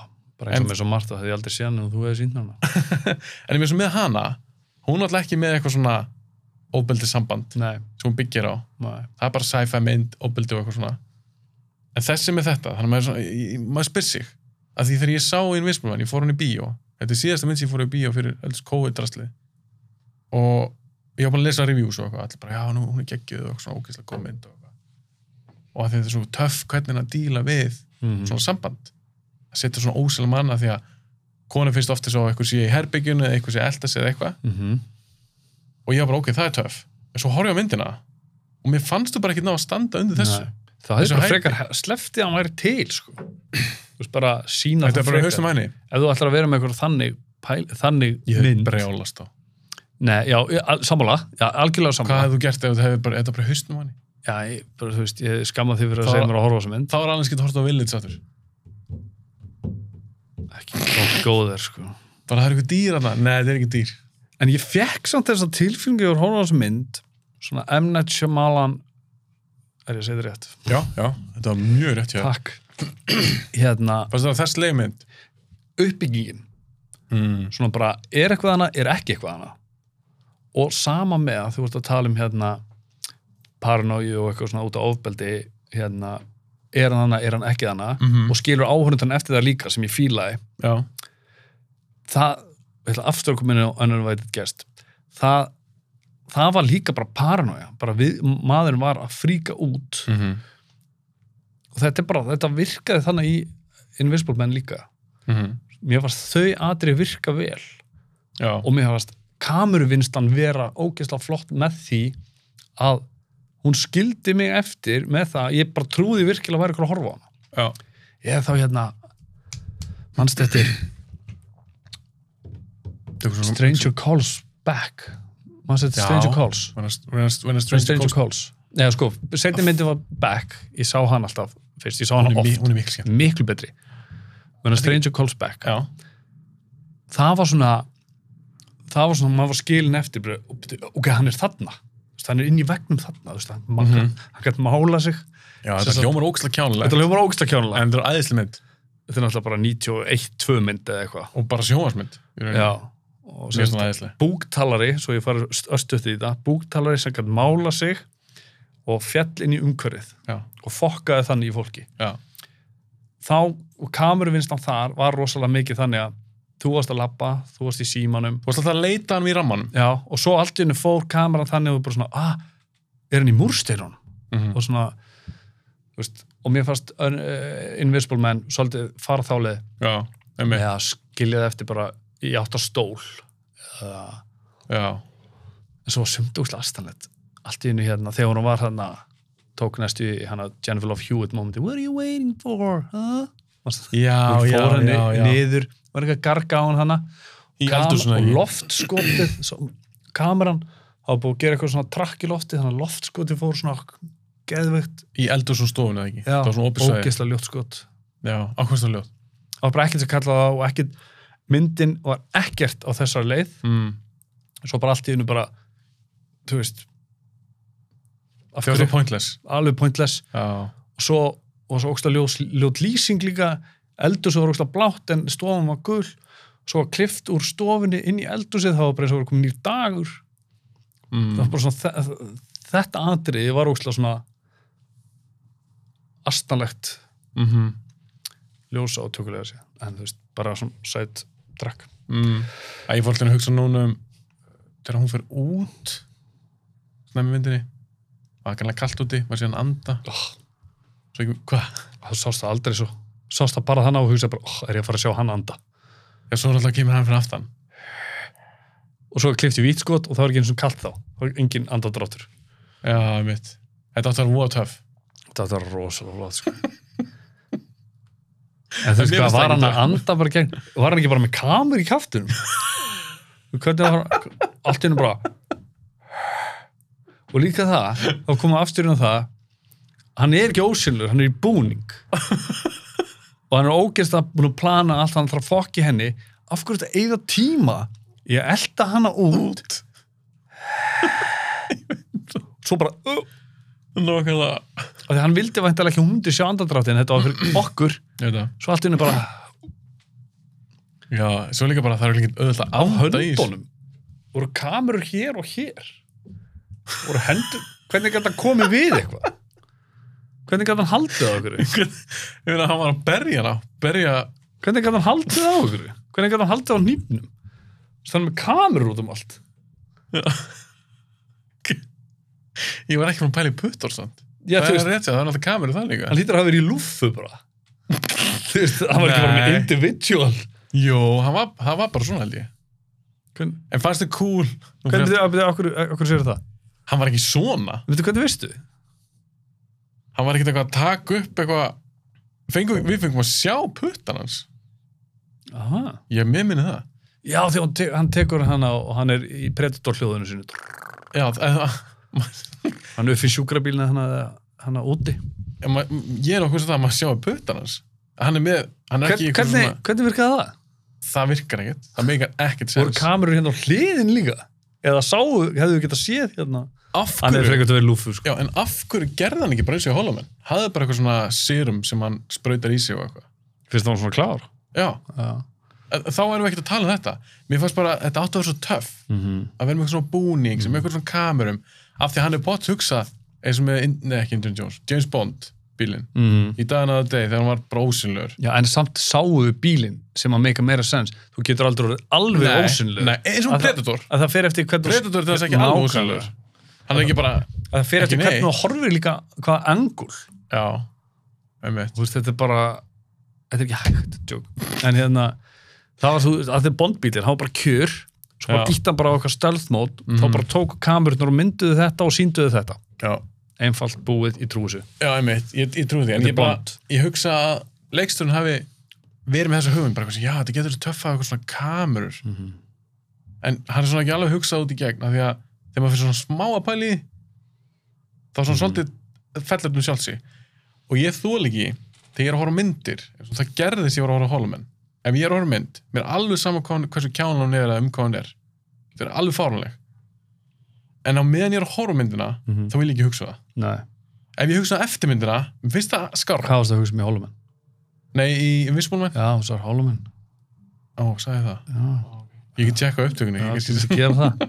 B: bara eins og
A: En-
B: með svo margt það hefði ég aldrei séð hann en þú hefði sínt hana
A: en mér sem með hana, hún er alltaf ekki með eitthvað svona óbeldi samband
B: nei,
A: sem hún byggir á,
B: nei,
A: það er bara sci-fi mynd óbeldi og eitthvað svona en þessi með þetta, þannig að maður, er svona, ég- ég- maður spyr sig að því þegar ég sá Invincible Man, ég fór hann í bíó þetta er síðasta mynd sem ég fór í bíó fyrir alls COVID-drasli og ég var bara að lesa reviews og eitthvað, allir bara já, nú, hún er geggjöð og eitthvað svona ógeðslega góð mynd og, eitthvað. og að því þetta er svo töff hvernig hann að díla við
B: mm.
A: svona samband að setja svona ósæla manna því að konu finnst ofta svo að eitthvað sé í herbyggjunu eða eitthvað sé að elda sig eða eitthvað
B: Mm -hmm.
A: og ég var bara ok, það er töff en svo horfði ég á myndina og mér fannst þú bara ekki ná að standa undir þessu
B: Nei. það hefði
A: Þessu
B: bara
A: hæpi.
B: frekar sleftið að hann væri til sko. þú veist bara sína
A: þetta er bara haustum henni
B: ef þú ætlar að vera með eitthvað þannig pæl, þannig mynd
A: brjálast á
B: nei, já, ég- al- sammála, já, algjörlega
A: hvað
B: sammála
A: hefðu gert ef þetta hefði bara, þetta er bara haustum henni
B: já, ég, bara, þú veist, ég skamma því fyrir að
A: Það-
B: segja mér að horfa á þessa mynd
A: þá er alveg skilt að horta á villið sattur
B: ekki nógu góð er sko
A: bara það er eitthvað dýr aðna, nei þetta er ekki dýr
B: En ég fekk samt þess að tilfengi og horfa á þessu mynd, svona M. Night Shyamalan er ég að segja þetta rétt?
A: já, já, þetta var mjög rétt hjá þér.
B: Takk. hérna,
A: fannst það þess leið
B: uppbyggingin
A: mm.
B: svona bara, er eitthvað hana, er ekki eitthvað hana og sama með að þú ert að tala um hérna paranoju og eitthvað svona út á ofbeldi hérna, er hann hana, er hann ekki hana
A: Mhm.
B: og skilur áhörundan eftir það líka sem ég fílaði
A: já,
B: það, ég ætla aftur að koma inn á uninvited guest það, það var líka bara paranoja bara við, maðurinn var að fríka út
A: mm -hmm.
B: og þetta er bara, þetta virkaði þannig í Invisible Man líka
A: Mhm.
B: mér varst þau atrið virka vel
A: já,
B: og mér varst kameruvinstan vera ógeðslega flott með því að hún skildi mig eftir með það, að ég bara trúði virkilega að væri ykkur að horfa á hana
A: já,
B: ég þá hérna mannst eftir
A: Þetta er eitthvað svona-
B: Stranger Calls Back mannst eftir
A: Já.
B: Stranger Calls
A: When a- when a- when a
B: Stranger,
A: stranger calls-
B: Calls. Nei, sko, setni myndi var Back, ég sá hann alltaf fyrst, ég sá hann
A: Hún er mi-
B: oft,
A: hún er mikil skemmt
B: miklu betri menn að Stranger Calls Back
A: já,
B: það var svona það var svona, maður var skilin eftir bara, ok, hann er þarna Þú veist, hann er inn í vegnum þarna, þú veist, hann, mm
A: Mhm.
B: hann gætt mála sig,
A: já
B: Sem
A: þetta
B: sagt-
A: hljómar ógæslega kjánulega
B: þetta er bara ógsta kjónulega
A: en þetta er æðislega mynd
B: þetta er náttúrulega bara 91-2 mynd eða eitthvað
A: og bara sjónvarsmynd
B: já, og
A: mér
B: sem
A: finnst það æðislega
B: búktalari, svo ég fara östuðt í þetta búktalari sem gætt mála sig og fjall inn í umhverfið
A: já,
B: og fokkaði þannig í fólki
A: já,
B: þá, og kameruvinnslan þar var rosalega mikið þannig að þú varst að labba, þú varst í símanum
A: Þú varst alltaf að leita hann í rammanum.
B: já, og svo allt í hennu fór kameran þannig og þú bara svona, ah, er hann í múrsteyrun
A: Mm
B: og svona þú veist, og mér fannst uh, Invisible Man svolítið fara þálið
A: Já, emmi.
B: eða skilja það eftir bara í átt á stól eða
A: Já.
B: en svo var sumt úrslega astanlegt allt í hennu hérna, þegar hún var hérna tók næstu í hana Jennifer Love Hewitt momenti, what are you waiting for? Huh? Varstu-
A: Já,
B: hún
A: já,
B: fór henni
A: já, já.
B: niður var eitthvað að garga á hann hana
A: Í
B: Kam-
A: eldhúsinu,
B: og
A: ekki?
B: loftskotið svo, kameran, það var búið að gera eitthvað svona trakk í loftið, þannig að loftskotið fór svona geðveikt,
A: Í eldur svona stofun eða ekki.
B: já,
A: Það var svona opisæði.
B: ógeðslega ljótt skot
A: Já, ákvæmstlega ljótt.
B: það var bara ekkert sem kallaði það á og ekkert myndin var ekkert á þessari leið
A: Mm.
B: svo bara allt í hennu bara þú veist af
A: Þegar það
B: hverju,
A: var pointless.
B: alveg pointless
A: Já.
B: og svo, og svo ógsta ljót, ljót lýsing líka eldur sem var ógsta blátt en stofan var gul svo var klift úr stofinni inn í eldúsið það var bara eins og var komin nýr dagur það
A: Mm.
B: var bara svona þe- þetta atriði var ógsta svona astanlegt
A: Mm
B: Mm-hmm.
A: -hmm.
B: ljósa og tökulega sér en þú veist, bara svona sætt drakk
A: mm. Æ, ég fór alltaf að hugsa núna um þegar hún fer út snemmi myndinni var kannlega kalt úti, var síðan að anda
B: oh,
A: svo ekki, hvað?
B: það sást það aldrei svo sást það bara þannig á og hugsaði bara oh, er ég að fara að sjá hann anda
A: Já, svo er alltaf að kemur hann fyrir aftan
B: og svo klippti vít skot og það var ekki eins og kallt þá það var engin andadráttur
A: Já, mitt Þetta átti að vera voða töff
B: þetta var rosalega flott sko. en þú veist
A: mér
B: hvað
A: finnst það
B: var hann að
A: ekki
B: anda bara gegn var hann ekki bara með kamur í kaftunum hvernig var allt henni bara og líka það þá koma afturinn á það hann er ekki ósynlur, hann er í búning og hann er ógeðst að búin að plana allt hann þarf að fokki henni af hverju þetta eigða tíma ég elda hana út svo bara uh,
A: Nókala
B: af því hann vildi væntalega ekki að hún myndi sjá andadráttin þetta var fyrir okkur svo allt inni bara
A: Já, svo líka bara það er líka auðvitað að
B: á
A: anda í þessu.
B: höndunum voru kamerur hér og hér voru hendur hvernig gæti hann komið við eitthvað hvernig gæti hann haldið á okkur
A: Ég veit að hann var að berja hana berja,
B: hvernig gæti hann haldið á okkur hvernig gæti hann haldið á nýfnum þannig með kamerur út um allt
A: ég var ekki frá að pæla í puttor samt
B: Já,
A: Það
B: þú
A: er
B: veist,
A: rétt sér, það er alltaf kameru það líka
B: hann lítur að hafa verið í lúffu bara þú veist, hann var ekki bara með
A: Nei.
B: individual
A: Jó, hann var, hann var bara svona held ég
B: Hvern-
A: En fannst þið cool Nú
B: hvernig
A: fyrir-
B: þið, okkur, okkur sér það
A: Hann var ekki svona
B: veitu hvernig veistu?
A: hann var ekkert eitthvað að taka upp eitthvað fengum, við fengum að sjá puttan hans
B: aha
A: ég mér minni það
B: Já, því hann, te hann tekur hana og hann er í predator hljóðinu sinu.
A: já, það,
B: Hann er upp í sjúkrabílina hana, hana úti.
A: en ma- ég er okkur sem það að maður sjá puttan hans hann er með, hann er
B: Hvern,
A: ekki eitthvað
B: hvernig,
A: svona,
B: hvernig virkaði það?
A: það virkar ekkert, það meikar ekkert
B: Voru
A: sens
B: kamerur hérna á hliðin líka? Eða sáu, hefðu getað séð hérna?
A: af
B: Hann er
A: hverju,
B: frekar til að vera lúfu, sko.
A: já, en af hverju gerði hann ekki bara eins og í Holomen hafði bara eitthvað svona serum sem hann sprautar í sig og eitthvað
B: Fyrst það var svona klár.
A: já,
B: Já.
A: en þá erum við ekkert að tala um þetta mér fannst bara, þetta áttu að vera svo töff
B: Mm -hmm.
A: að vera með eitthvað svona búning
B: Mm.
A: sem eitthvað svona kamerum af því að hann er bótt hugsað eins og með, neða ekki Indiana Jones, James Bond bílinn,
B: mhm.
A: í daginn að það degi þegar hann var bara ósynlegur
B: Já, en samt sáu bílinn sem að meika meira sens. Þú getur aldrei orðið alveg
A: Nei,
B: ósynlegur.
A: nei, eins og
B: Að það-
A: Predator.
B: Að það fer eftir hvernig...
A: Predator er þess ekki alveg
B: Nákvæmlega.
A: ósynlegur hann er ekki bara,
B: Að það fer
A: Ekki
B: eftir
A: neitt.
B: hvernig þú horfir líka hvaða angul.
A: já einmitt,
B: þú veist, þetta er bara þetta er ekki hægt, joke en hérna, það var þú, að þið bondbílir það var bara kjör, svo bara
A: Já.
B: dýtt hann bara á okkar stealthmót, mm. þá
A: Mhm.
B: bara tók kamerunur og mynduðu þetta og sínduðu þetta
A: já,
B: einfalt búið í trúsu
A: já einmitt ég, ég trúi því, en
B: Þetta
A: ég
B: er
A: bara,
B: Bond.
A: ég hugsa að leiksturinn hafi verið með þessa hugum, bara eitthvað, svona, já, þetta getur verið töff að eitthvað svona kamerur
B: Mhm.
A: en hann er svona ekki alveg hugsað út í gegn af því að þegar maður fyrir svona smá að pæli í því, þá svona svolítið fellur um sjálfsi og ég þól ekki þegar ég er að horfa á myndir eins og það gerðist ég var að horfa á holumenn ef ég er að horfa á mynd, mér er alveg sama hvað hún- hversu kjánan hún er eða um hvað hún er það er alveg fárunleg en á meðan ég er að horfa á myndina
B: Mhm.
A: þá vil ég ekki hugsa það
B: Nei.
A: ef ég hugsa eftir myndina, mér finnst það skarra
B: hvað varst það að hugsa með Holumenn?
A: nei, í Invisible Man,
B: Já, þú svar Holumenn
A: ó, sagði ég það
B: Já,
A: ég get tjekka á upptökunni
B: það
A: ég
B: er
A: get-
B: sem að gera það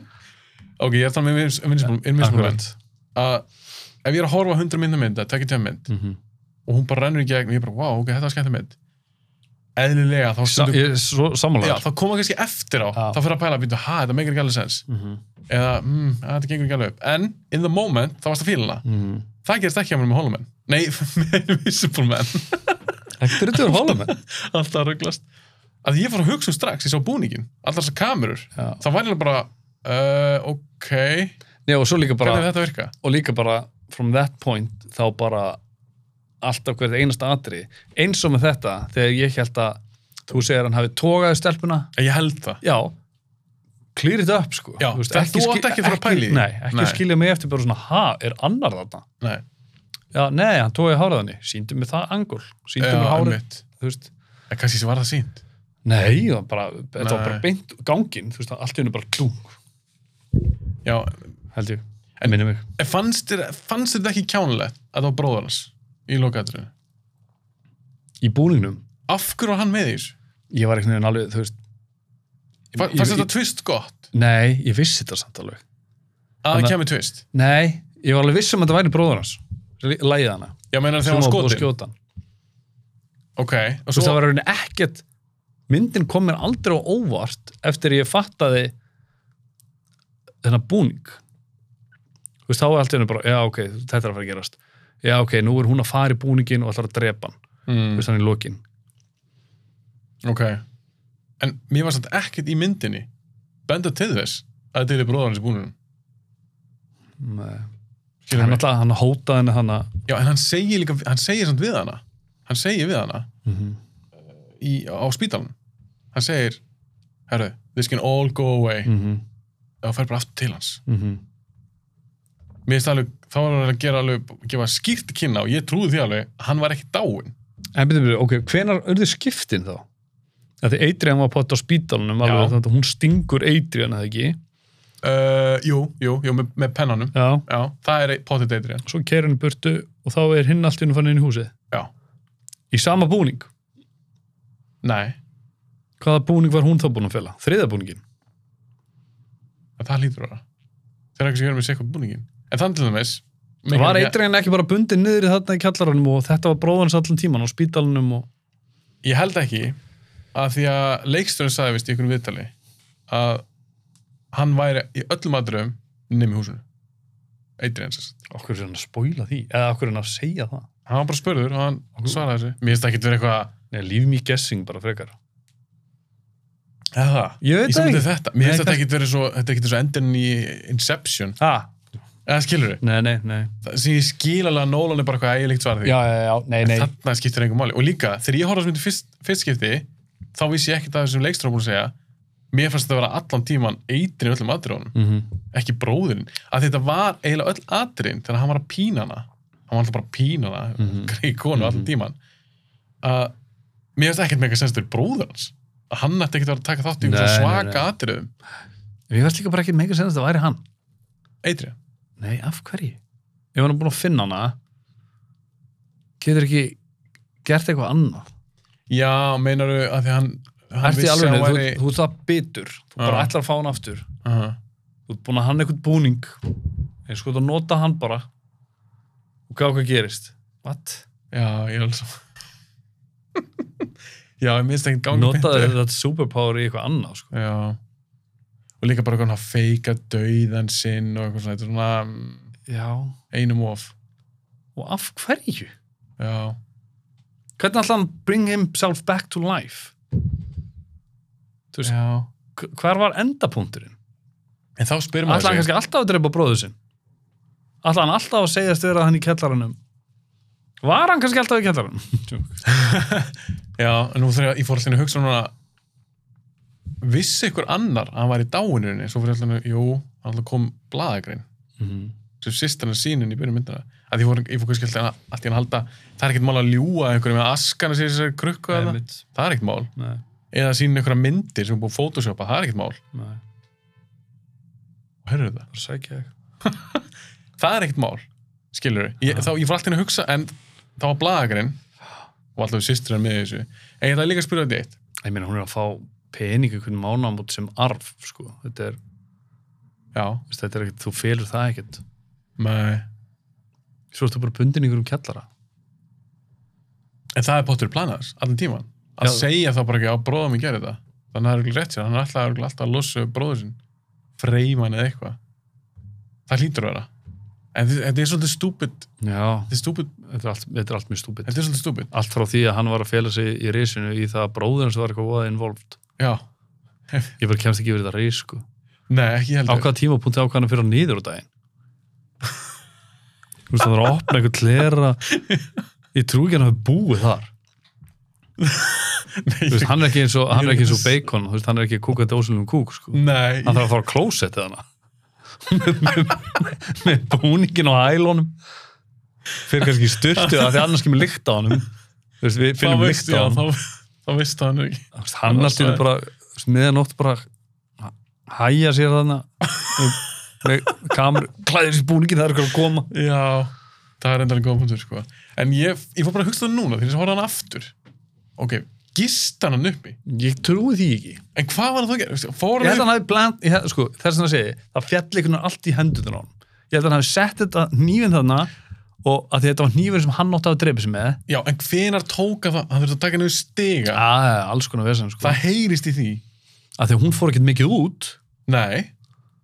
A: ok, ég er um þannig með Invis- Invisible, Invisible Man
B: Akkurat
A: að ef ég er að horfa á 100 mynda mynd að tekja tjöf mynd
B: Mhm.
A: og hún bara rennur í gegn og ég bara, wow, ok, þetta var skemmt mynd eðlilega þá
B: Sa,
A: stundum
B: ég, svo,
A: já,
B: sammálaður
A: þá koma kannski eftir á,
B: Já.
A: þá fyrir að pæla býtu, ha, þetta meikir ekki alveg sens
B: Mhm.
A: eða, mm, að, þetta gengur ekki alveg upp en, in the moment, þá varst að fíla hana
B: Mm.
A: það gerist ekki að mér með holumenn nei, með visupulmenn,
B: Ekki druttur hólum
A: alltaf að rugglast að ég fór að hugsa um strax, ég sá búningin allar þessar kamerur,
B: Já.
A: þá var ég bara uh, ok,
B: Já, og svo líka bara
A: hvernig er þetta að virka?
B: og líka bara from that point þá bara alltaf hvert einasta atri eins og með þetta þegar ég held að þú segir hann hafi tógaði stelpuna
A: Ég held það
B: já clear it up sko
A: Já, það- þú átt
B: skil-
A: ekki að fara að pæla í því.
B: nei, ekki
A: Nei.
B: skilja mig eftir bara svona ha, er annar þarna
A: Nei,
B: já, nei, hann tógaði háraðanni, síndi mig það angul síndi mig hárið,
A: einmitt.
B: þú veist
A: En kannski sem var það sínt
B: nei, það var bara, þetta var
A: Nei.
B: bara beint gangin, þú veist, allt í hennu bara klung
A: Já,
B: held ég, en minni mig
A: en fannst þér, fannst þér þetta ekki kjánulegt að það var bróður hans í lokaðatrinu?
B: í búningnum,
A: Af hverju var hann með því?
B: ég var eitthvað alveg, þú veist
A: Fa-
B: ég-
A: Fannst
B: ég-
A: þetta twist gott?
B: Nei, ég vissi þetta samt alveg.
A: Að
B: Þannig-
A: það kemur twist?
B: Nei, ég var alveg viss um að þetta væri bróður hans. Læðið hana.
A: Já, meinar þegar hann
B: Sem var búið
A: var
B: að
A: skotin?
B: skjóta hann.
A: Ok, og
B: Svo...
A: svo
B: Það var rauninni ekkert, myndin kom mér aldrei á óvart eftir ég fattaði þennan búning. Þú veist, þá er allt í henni bara, já, ok, þetta er að fara að gerast. Já, ok, nú er hún að fara í búningin og ætlar að drepa hann. Þú
A: mm,
B: veist, hann í lokin.
A: Ok En mér var samt ekkert í myndinni benda til þess að þetta er bróður hans í búinunum
B: Nei.
A: Skilur
B: Hann
A: mig?
B: alltaf, hann hótaði henni hann að...
A: Já, en hann segir líka, hann segir samt við hana Hann segir við hana í, á spítalunum Hann segir, herru, this can all go away
B: Mm. Mhm.
A: og fer bara aftur til hans mér finnst alveg, þá var hann að gera alveg gefa skýrt til kynna og ég trúði því alveg að hann var ekki dáinn
B: En byrju, byrju, ok, hvenar urðu skiptin þá? Af Því Adrian var pott á spítalunum
A: Já.
B: alveg, þannig að hún stingur Adrian eða ekki.
A: uh, jú, jú, jú, með, með pennanum
B: Já.
A: já, það er potið deitrið
B: Svo kæra henni burtu og þá er hinn allt í henni fann inn í húsið.
A: já,
B: Í sama búning.
A: nei,
B: Hvaða búning var hún þá búin að fela? Þriða búningin.
A: en það hlýtur að vera þegar ekki sem gera með sér eitthvað búningin en þannig til dæmis
B: Það var
A: ég,
B: Adrian ekki bara bundið niður í þarna í kjallaranum og þetta var bróðans allan tíman á spítalunum og...
A: ég held ekki að því að leiksturinn sagði vist í einhvern viðtali að hann væri í öllum aðdröfum nefn í húsinu Adrian sérst
B: Okkur er hann að spoila því? Eða okkur er hann að segja það?
A: hann var bara spurður og hann svaraði þessu mér finnst ekki verið eitthvað
B: Nei, leave me guessing bara frekar.
A: eða
B: Ég
A: Í
B: veit það
A: sambandi við
B: ekki.
A: þetta, mér
B: Nei,
A: finnst þetta
B: kannski-
A: ekkert verið svo, þetta ekkert svo endin í Inception,
B: Ah,
A: eða skilur við,
B: nei, nei, nei.
A: það sem ég skil alveg að Nolan er bara eitthvað ægilegt svar því,
B: Já, já, já, nei, nei.
A: þarna skiptir einhver máli, og líka, þegar ég horfði á þessu myndi fyrst, fyrst skipti, þá vissi ég ekkert að þessum leikstjóra búin að segja, mér fannst þetta að vera allan tíman eitrin öllum atriðunum,
B: Mm
A: ekki bróðurinn, að þetta var eiginlega öll atriðin þegar hann var að pína hana, hann var alltaf bara að pína hana, mm
B: Mhm.
A: konu allan
B: Mhm.
A: tíman, að mér finnst ekkert mega senstur bróður hans, að hann ætti ekkert að vera að taka þátt í einhverjum
B: Nei, nei,
A: svona svaka atriðum,
B: Ég veist líka bara ekki mega senast að það væri hann.
A: eitrin.
B: Nei, af hverju? Ef hann er búin að finna hana getur ekki gert eitthvað annað.
A: Já, meinaru að því hann hann
B: Ertu í
A: vissi að
B: alveg,
A: hann
B: væri...
A: væri...
B: þú, þú ert það bitur. Þú bara
A: Já.
B: ætlar að fá hann aftur.
A: uh
B: Þú ert búin að hann eitthvað búning. Ég sko að nota hann bara og gá hvað gerist. What?
A: Já, ég er alveg saman Já, ég minnst ekkert gangi
B: Notaði þetta superpower í eitthvað annað, sko.
A: Já Og líka bara hvernig að feika dauðan sinn og eitthvað svona, þetta er svona mm,
B: Já.
A: einum of
B: Og af hverju?
A: Já,
B: Hvernig ætlaði hann bring himself back to life? Þú veist,
A: já
B: h- hvar var endapunkturinn?
A: En þá spyrir maður
B: Ætla hann kannski alltaf að drepa bróður sinn? Ætla hann alltaf að segja stöður að hann í kellaranum? Var hann kannski alltaf í kellaranum? Joke.
A: Já, en nú þegar ég fór allir að hugsa núna Vissi ykkur annar að hann var í dáinurinni Svo fyrir allir að, jú, hann alltaf kom blaðagrein
B: Mhm.
A: sem sýstarna sínin í byrjun myndina að ég fór, ég fór kannski alltaf allt í hann að halda það er ekkert mál að ljúga einhverjum með askana sér þessari krukku eða það,
B: Einmitt.
A: það er ekkert mál
B: Nei,
A: eða að sína einhverja myndir sem er búið að photoshopa, það er ekkert mál
B: nei,
A: og hörðu það,
B: bara sækja ég.
A: það er ekkert mál skilur ég,
B: Já.
A: þá, ég fór alltaf að hugsa en þá var blagagrinn og alltaf sýsturinn með í þessu en ég ætla líka að spyrja þetta eitt
B: Ég meina, hún er að fá peningu hvernig mánamót sem arf, sko. Þetta er,
A: já,
B: veist, þetta er ekkert, þú felur það ekkert.
A: með,
B: Svo ertu bara bundin í einhverjum kellara.
A: en það er pottur planaðs allan tíman að
B: Já.
A: segja þá bara ekki á bróða minn gerir þetta þannig að það er ekki rétt sér, hann er alltaf, örugglega alltaf að losa við bróður sinn, freyman eða eitthvað það hlýtur að vera en þi- þetta er svolítið stúpid
B: Já,
A: þetta er stúpid,
B: þetta er allt, þetta er allt mjög stúpid.
A: þetta er svolítið stúpid
B: Allt frá því að hann var að fela sig í risinu í það að bróðir hans var eitthvað voða involved.
A: já,
B: Ég bara kemst ekki yfir þetta ris, sko.
A: nei ekki
B: Á
A: heldur
B: hvaða tímapunkti ákvað hann að fyrir nýður á daginn? Þú veist, hann þarf að opna eitthvað klera. Ég trú ekki að hann hafi búið þar.
A: nei,
B: Þú veist,
A: ég,
B: hann er ekki eins og, hann er ekki eins og bacon, þú veist, hann er ekki kúkandi ósynlum kúk, sko.
A: nei
B: Hann þarf að fara á klósettið hana. með, með, með búningin og hælónum. Fyrir kannski styrtið það, því annars kemur lykt á honum. Þú veist, við
A: þá
B: finnum
A: veist
B: lykt á
A: já,
B: honum.
A: þá, þá veist hann ekki
B: Þú veist, hann allt í einu bara, þú veist, miðanótt bara h- hæja sér þarna með- með kamer, klæðir sér búningin, það er eitthvað að koma.
A: já, það er endalega góða punktur sko. en ég, ég fór bara að hugsa það núna þegar ég horfði á hann aftur ok, gist hann hann uppi
B: Ég trúi því ekki.
A: en hvað var það þá að gera, fór
B: Ég held að
A: hann
B: hann hafi bland, ég, held- sko, þess að hann segi, það fjall einhvern veginn allt í hendunar á hann. Ég held að hann hafi sett þetta nýfin þarna og að því þetta var nýfin sem hann átti að dreipa sig með.
A: já, en hvenar tóka það, hann þurfti að taka niður stiga
B: Já, já, alls konar vesen, sko.
A: það heyrist í því
B: Að því að hún fór ekkert mikið út.
A: nei,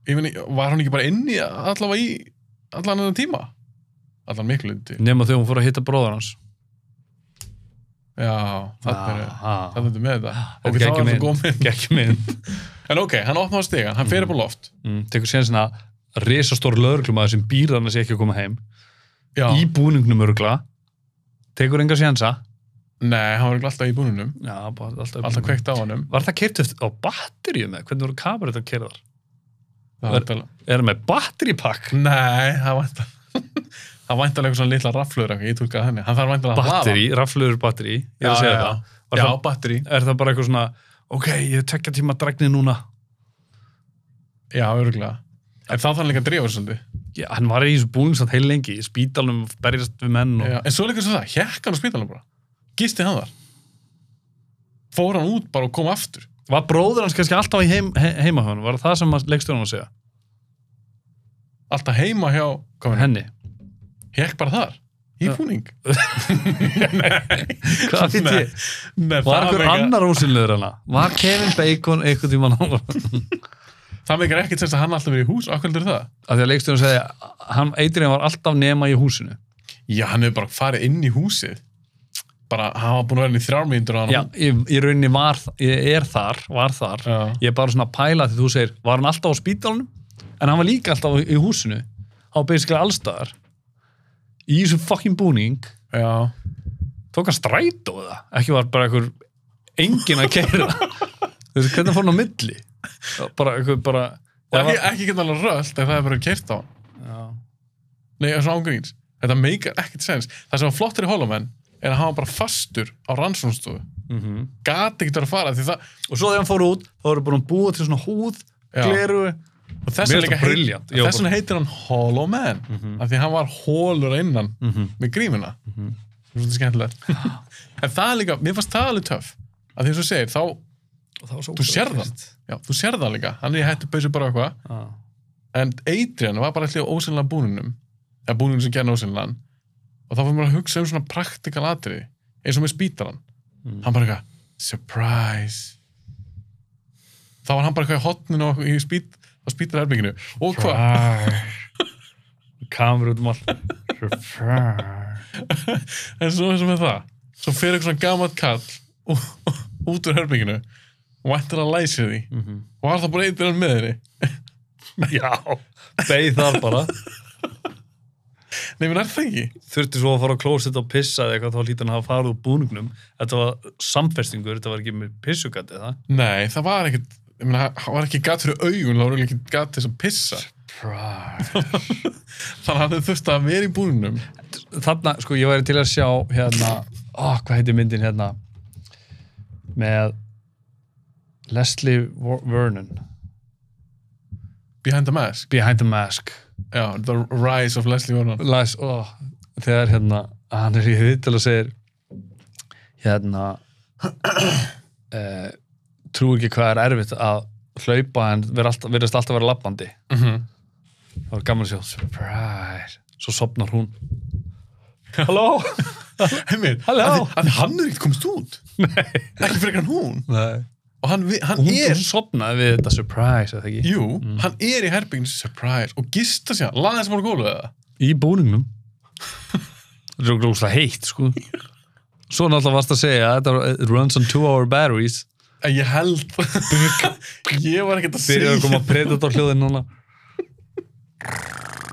A: ég meni, var hún ekki bara inni allavega í allan þetta tíma allan miklu lundi
B: Nefna þegar hún fór að hitta bróðar hans.
A: já, það er
B: það
A: þetta er með þetta
B: Þetta
A: ok, þá
B: gekk í
A: er það
B: Ah, mynd.
A: góð mynd
B: er ekki mynd.
A: en ok, hann opnaði stigan, hann fer upp á loft
B: Mm, tekur síðan svona risastór lögreglumæður sem býr þannig að sé ekki að koma heim
A: já,
B: í búningnum örgla tekur enga séansa
A: nei, hann var ekki alltaf í búnunum
B: já, bara alltaf,
A: alltaf kveikt á honum
B: var það kert eftir á batteríum eða hvernig voru kamerið að kera þar
A: það
B: Var-
A: var alltaf
B: er það með batterípakk
A: Nei, það væntar Það væntar eitthvað svona litla raflur eitthvað, ég tólkaði henni Hann þarf væntar að
B: batterí, rafluður batterí ég er að
A: Já,
B: segja
A: já,
B: það
A: Já,
B: Var
A: já
B: það,
A: batteri
B: er það bara eitthvað svona ok, ég er tekja tíma dragnið núna
A: Já, örgulega En þá þarf hann líka að drífa sig svolítið
B: já, hann var í þessu búningsat heil lengi í spítalum berjast við menn og
A: Já, En svo líka svo það, hjekk hann á spítalum bara Gisti hann þar Fór hann út bara og kom aftur
B: var bróður hans kannski alltaf í heim, he, heima hjá hann var það sem leikstjórnum að segja
A: Alltaf heima hjá komin
B: henni
A: Hjekk bara þar Í
B: Já.
A: búning
B: hvað fyrir
A: Nei,
B: ég
A: Nei,
B: Var
A: það
B: einhver
A: meikar-
B: annar ósynlegur hana? Var Kevin Bacon einhvern tímann á Af
A: Það meikar ekkert sens að hann alltaf verið í hús Akkur heldur það?
B: því að leikstjórn segi hann Adrian var alltaf nema í húsinu
A: Já, hann hefur bara farið inn í húsið Bara, hann var búin að vera inn í þrjármýndur
B: Já, ég, ég rauninni var, ég er þar var þar,
A: Já.
B: ég er bara svona að pæla því þú segir, var hann alltaf á spítalunum en hann var líka alltaf í húsinu á basically allstaðar í þessu fucking búning
A: Já.
B: tók hann strætó það, ekki var bara einhver engin að keira þessu, hvernig fór hann á milli bara, einhver bara
A: Og ekki, ekki geta alveg rölt en það er bara kert á hann.
B: já,
A: Nei, það er svona ángríns. Þetta meikar ekkert sens. Það sem var flottir í Holoman er að hafa bara fastur á rannsónstofu.
B: mhm
A: Gat ekkert verið að fara því það...
B: og svo þegar hann fór út þá voru búin að búa til svona húð
A: Já.
B: gleru
A: og Þess
B: Mér finnst
A: vegna
B: það
A: heit,
B: brilliant. Ég var Mhm.
A: þess vegna heitir hann Holoman. Mm Af því hann var hólur að innan með grímuna. Það er svona skemmtilegt. en það er líka, mér fannst það alveg töff. Af því eins og þú segir, þá, þú sér það. Já, þú sér það líka. Hann er í hættu bauðsum bara eitthvað.
B: ah.
A: en Adrian var bara allir ósynlega búninum eða búninum sem gerði ósynlegan og þá fyrir maður að hugsa um svona praktikal atriði eins og með spítaran
B: Mm.
A: hann bara eitthvað, surprise þá var hann bara eitthvað í hotninu og í spít, á spítara erbygginu og hvað,
B: kamur út um allt Frar.
A: en svo eins og með það svo fyrir eitthvað svona gamalt kall ú- út úr erbygginu og ættir að læsa því og var það bara Adrian með henni
B: já beigð þar bara
A: nei, minn er það ekki
B: þurfti svo að fara á klóset og pissa eða eitthvað þá hlýtur hann að fara úr búningnum þetta var samfestingur, þetta var ekki með pissugat eða
A: nei, það var ekkert ég meina, það var ekki gat fyrir augun þá var ekki gat til þess að pissa
B: Frar.
A: þannig að hann hefði þurft að vera í búninum
B: þarna, sko, ég væri til að sjá hérna, ó, hvað heitir myndin hérna með Leslie Ver- Vernon
A: Behind the Mask
B: Behind the Mask
A: já, The Rise of Leslie Vernon
B: Læs, ó, þegar hérna hann er í viðtal og segir hérna uh, trú ekki hvað er erfitt að hlaupa en vera alltaf- virðist alltaf að vera labbandi
A: mm
B: það var gaman að sjá surprise svo sopnar hún halló
A: Heimir,
B: Halló.
A: að, að hann er ekkert komist út
B: Nei.
A: ekki frekar en hún
B: Nei.
A: og hann, vi- hann
B: Hún, Mm.
A: er
B: hún sopnaði við þetta surprise, eða ekki?
A: jú, hann er í herbygginu surprise og gista sér, laðið sem voru gólu eða
B: Í búningnum. Þetta er okkur óslega heitt, sko. Svo náttúrulega varst að segja að þetta var- it runs on two hour batteries.
A: en ég held ég var ekkert að
B: Byrjaði
A: segja
B: að koma að breyta þetta á hljóðin núna.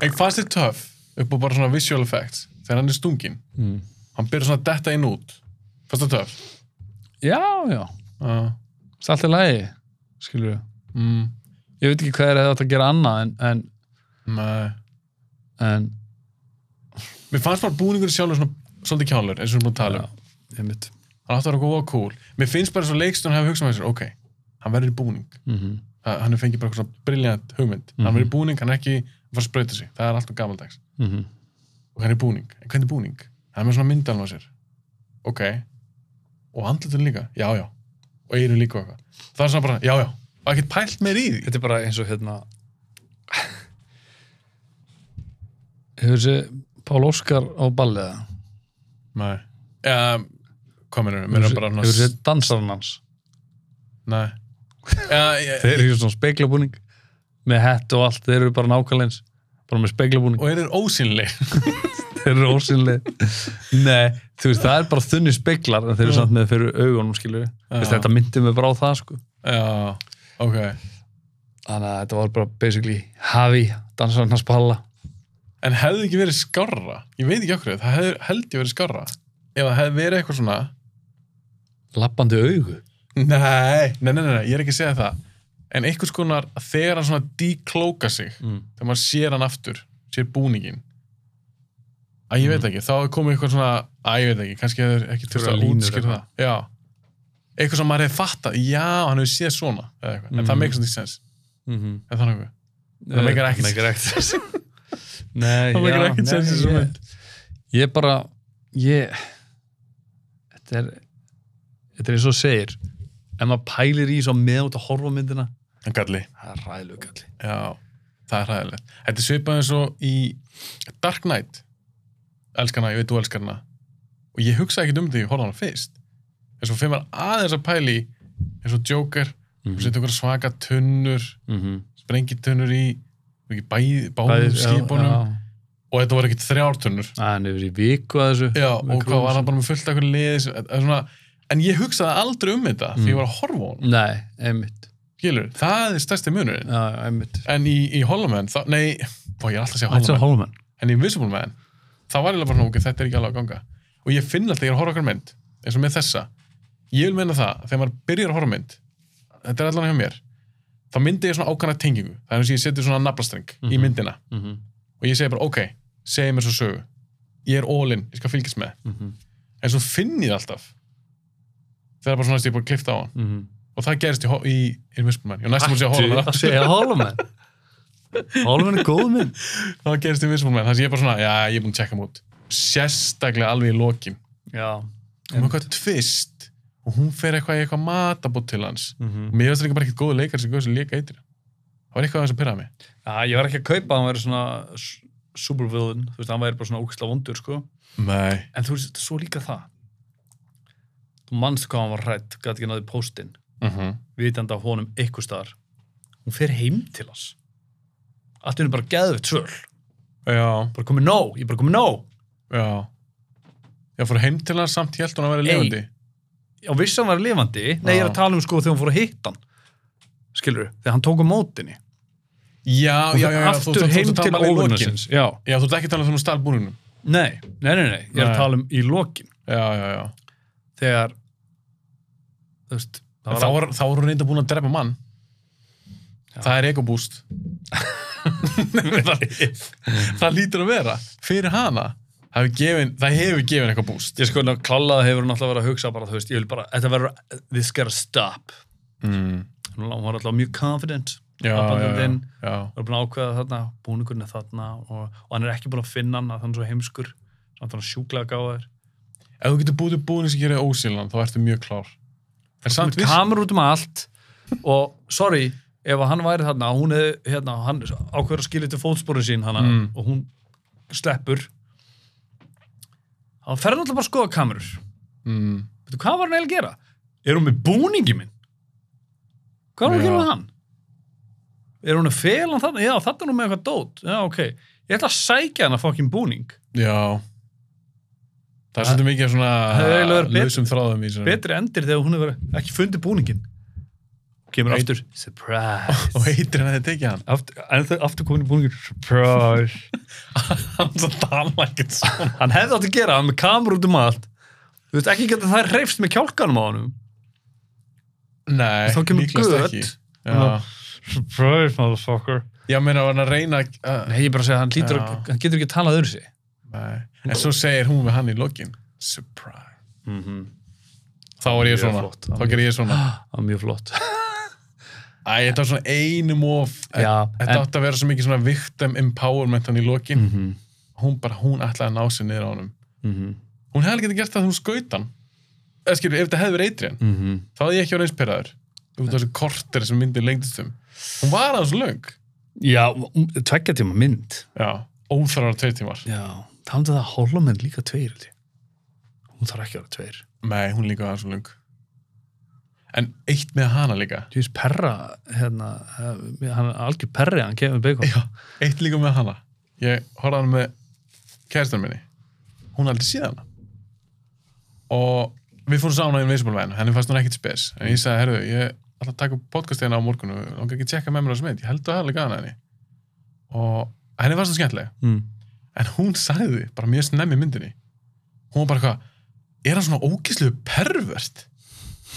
A: en fast er töff upp á bara svona visual effects þegar hann er stungin
B: Mm.
A: hann byrjar svona að detta inn út fast er töff
B: Já, já.
A: uh,
B: Það er allt í lagi, skilur við.
A: mm,
B: Ég veit ekki hvað er að þetta gera annað en, en,
A: nei.
B: en
A: mér fannst bara búningur sjálfur svona svolítið kjálur eins og við erum búin að tala um
B: ég mitt.
A: hann átti að vera góða cool mér finnst bara svo leikstun hafa hugsað með sér ok, hann verður í búning
B: Mm
A: Þa- hann er fengið bara eitthvað svona briljant hugmynd hann
B: Mhm.
A: verður í búning, hann er ekki að fara að sprauta sig það er alltaf gamaldags
B: mhm.
A: og hann er í búning, en hvernig búning? hann er með svona myndalum á sér ok, og andlutin líka, já já og einu líka og eitthvað það er svona bara, já já, og ekkert pælt meir í því
B: Þetta er bara eins og hérna Hefur þessi Pál Óskar á balliða?
A: nei, um, hvað mennur við mennur bara
B: Hefur
A: hann
B: þessi dansarinn hans?
A: nei uh, ég,
B: Þeir eru svona speglabúning með hett og allt, þeir eru bara nákvæmleins bara með speglabúning,
A: og eru ósynleg
B: þeir eru ósynlega Nei, þú veist, það er bara þunni speglar en þeir eru
A: Já.
B: samt með fyrir augunum, skilur við
A: Já.
B: Þetta myndi mig bara á það, sko
A: já, ok
B: Þannig að þetta var bara basically hafi dansarinn hans palla
A: en hefði ekki verið skarra ég veit ekki okkur, það hefði, held ég verið skarra ef það hefði verið eitthvað svona
B: lappandi augu
A: Nei, nei, nei, nei, nei, ég er ekki að segja það En einhvers konar, þegar hann svona deklóka sig,
B: mm.
A: þegar maður sér hann aftur sér búningin Æ, ég veit ekki, þá er komið eitthvað svona Æ, ég veit ekki, kannski hefur ekki
B: Einhverjar
A: þurft Mm. að
B: línur
A: útskýra
B: eitthvað.
A: það Já, eitthvað sem maður hefði fattað Já, hann hefur séð svona eða eitthvað, en
B: Mhm.
A: það meikar svona sens
B: Mm -hmm.
A: En þannig að Það meikar ekkert-
B: Eh, sens Nei,
A: Það meikar
B: já,
A: ekkert
B: nei,
A: sens í þessum
B: ég-
A: mynd.
B: Ég bara ég þetta er þetta er eins og þú segir ef maður pælir í svo með út að horfa á myndina
A: En galli,
B: það er ræðilega kalli
A: já, það er hræðilegt Þetta er svipað eins og í Dark Knight Elskar hana, ég veit þú elskar hana Og ég hugsaði ekkert um því, ég horfði á hana fyrst En svo fyrir maður aðeins að pæli eins og Joker, mm setja okkur svaka tunnur mhm. sprengitunnur í ekki, bæði, báðum skipunum og þetta var ekkert þrjártunnur
B: hann er verið í viku að þessu
A: já,
B: Með
A: og hvað
B: krús.
A: var hann bara með fullt akkur liðis svona, en ég hugsaði aldrei um þetta því
B: Mm.
A: ég var að horfa á hann,
B: Nei, einmitt
A: skilur, það er stærsti munurinn
B: Já, já, einmitt
A: en í, í Holloman, þá, nei bó, ég er alltaf að segja
B: Þetta er
A: Holloman,
B: Holman
A: en í Invisible Man þá var ég bara svona, ok, þetta er ekki alveg að ganga og ég finn alltaf, ég er að horfa okkar mynd eins og með þessa, ég vil meina það þegar maður byrjar að horfa á mynd þetta er allan hjá mér, þá myndi ég svona ákvæmna tengingu, það er eins og ég setja svona naflastreng í
B: Mhm.
A: myndina og ég segi bara ok, segi mér svo sögu ég er all-in, ég skal fylgjast með
B: mhm,
A: en svo finn ég það alltaf þegar bara svona að ég er búin að klifta á hann
B: mhm.
A: og það gerist í, Ho- í, í Invisible Man og næstum búin að segja
B: að segja Holman Holman er góð
A: Holloman
B: mynd
A: það gerist í Invisible Man, þannig að ég er bara svona já, ég er búin að checka hann út sérstaklega alveg í lokin
B: Já
A: og með eitthvað tvist og hún fer eitthvað í eitthvað matabót til hans
B: Mhm.
A: og mér finnst það líka bara ekkert góðu leikar sem góður sem leika eitri það var eitthvað að þess að pyrra mig
B: Já, ég var ekki að kaupa að hann væri svona s- supervillain, þú veist, hann væri bara svona ókvæsla vondur, sko.
A: nei,
B: En þú veist, svo líka það. Þú manst hvað hann var hrætt, gæti ekki náði póstinn,
A: uh -huh.
B: vitandi af honum eitthvað staðar. Hún fer heim til hans. Allt henni bara geðvett svöl.
A: já,
B: Bara komið nóg, ég bara komið nóg.
A: já ég fór heim til hans samt, ég held hún að vera
B: Ey.
A: levandi
B: Já, vissi hann var lifandi. Nei, ég er að tala um sko þegar hún fór að hitta hann. Skilur þegar hann tók á mótinni.
A: já, já,
B: Hún fer
A: já, já, þú- þú-
B: aftur
A: þú-
B: heim
A: þú talar
B: til
A: alveg í lokin.
B: óvinnarsins. Já.
A: Já, þú ert ekki að tala um stál búningnum.
B: Nei, nei, nei, nei, ég
A: Nei.
B: er að tala um í lokin.
A: Já, já, já.
B: Þegar, þú veist, það
A: En Þá var, þá var hún reynda búin að drepa mann. Það er ekobúst. það lítur að vera. Fyrir hana, það hefur gefin, það hefur gefin eitthvað búst.
B: Ég sko, ná, klallað hefur hún alltaf verið að hugsa bara, þú veist, ég vil bara, þetta verður, this gotta stop.
A: Mm.
B: Hún var- hún var alltaf mjög confident,
A: Já, já, já,
B: abandoned,
A: já.
B: var búin að ákveða þarna, búningurinn er þarna og, og hann er ekki búin að finna hann að hann er svo heimskur, samt hann sjúklega gáður.
A: Ef þú getur búið til búning sem gerir ósýlan, þá ertu mjög klár. En samt
B: Samt
A: viss...
B: kamur út um allt og, sorry, ef hann væri þarna, hún hefði, hérna, hann ákveður að skilja til fótsporin sín hana
A: Mm.
B: og hún sleppur, þá ferði náttúrulega bara að skoða kamerur
A: mm.
B: Veitu, hvað var hann eiginlega að gera? Er hún með búningi minn? Hvað er hún að
A: Já.
B: gera með hann? Er hún að fela hann þarna? Já, þarna er hún með eitthvað dót. Já, ok. Ég ætla að sækja hann að fokkin búning.
A: Já. Það er svolítið mikið af
B: hefði eiginlega
A: svona
B: verið bet-
A: lausum þráðum í svona.
B: Betri endir þegar hún hefur ekki fundið búningin. Kemur
A: Nei.
B: aftur. Surprise.
A: Og heitir hann að þið tekið hann.
B: Aftur, en þau aftur komin í búningin. Surprise.
A: Hann svo tala ekkert svona.
B: hann hefði átt að gera hann með kamer út um allt. Þú veist ekki geta það reyfst með kjálkanum á honum.
A: Nei,
B: Þá kemur
A: líklegast
B: gött.
A: ekki.
B: Svona-
A: Já.
B: Surprise, motherfucker.
A: Ég meina, var hann að reyna að... að-
B: Nei, ég er bara að segja, hann, lítur,
A: Já.
B: hann getur ekki að tala öðru sig.
A: Nei. En svo segir hún við hann í lokin. Surprise.
B: Mm -hmm.
A: Mhm. Þá er ég
B: Mjög
A: svona.
B: flott.
A: Þá ger ég svona.
B: Ah, Það var mjög flott.
A: Æ, þetta var svona einum of.
B: Já,
A: Þetta átti að vera svo mikið svona victim empowerment hann í lokin.
B: -hmm.
A: Hún bara, hún ætlaði að ná sér niður á honum.
B: Mm -hmm.
A: Hún hefði getið gert það þegar hún skaut hann. Eða skilur, ef þetta hefði verið eitri
B: Mm -hmm.
A: þá hefði ég ekki verið eins pyrraður. Út af þessu korter sem myndið lengdist um. Hún var aðeins löng.
B: Já, tveggja tíma mynd.
A: Já, óþarfar tveir tímar.
B: Já, það hann það að hólamenn líka tveir. held ég. Hún þarf ekki að vera tveir.
A: Nei, hún líka aðeins löng. En eitt með hana líka.
B: Þú veist, perra, hérna, eh, hann er algjör perri, hann kemur beigum.
A: Já, eitt líka með hana. Ég horfði á hana með kæristan minni. Hún aldrei síðan hana. Og við fórum sána í Invisible-væn. Henni fannst hún ekkit spes. En ég sagði, herru, ég ætla að taka upp podcast hérna á morgunu. Langar ekki að tjekka með mér á þessu mynd. Ég held að það er alveg hana henni. Og henni fannst hún skemmtileg.
B: Mm.
A: En hún sagði bara mjög snemmi í myndinni. Hún var bara eitthvað, er hann svona ógislu pervert?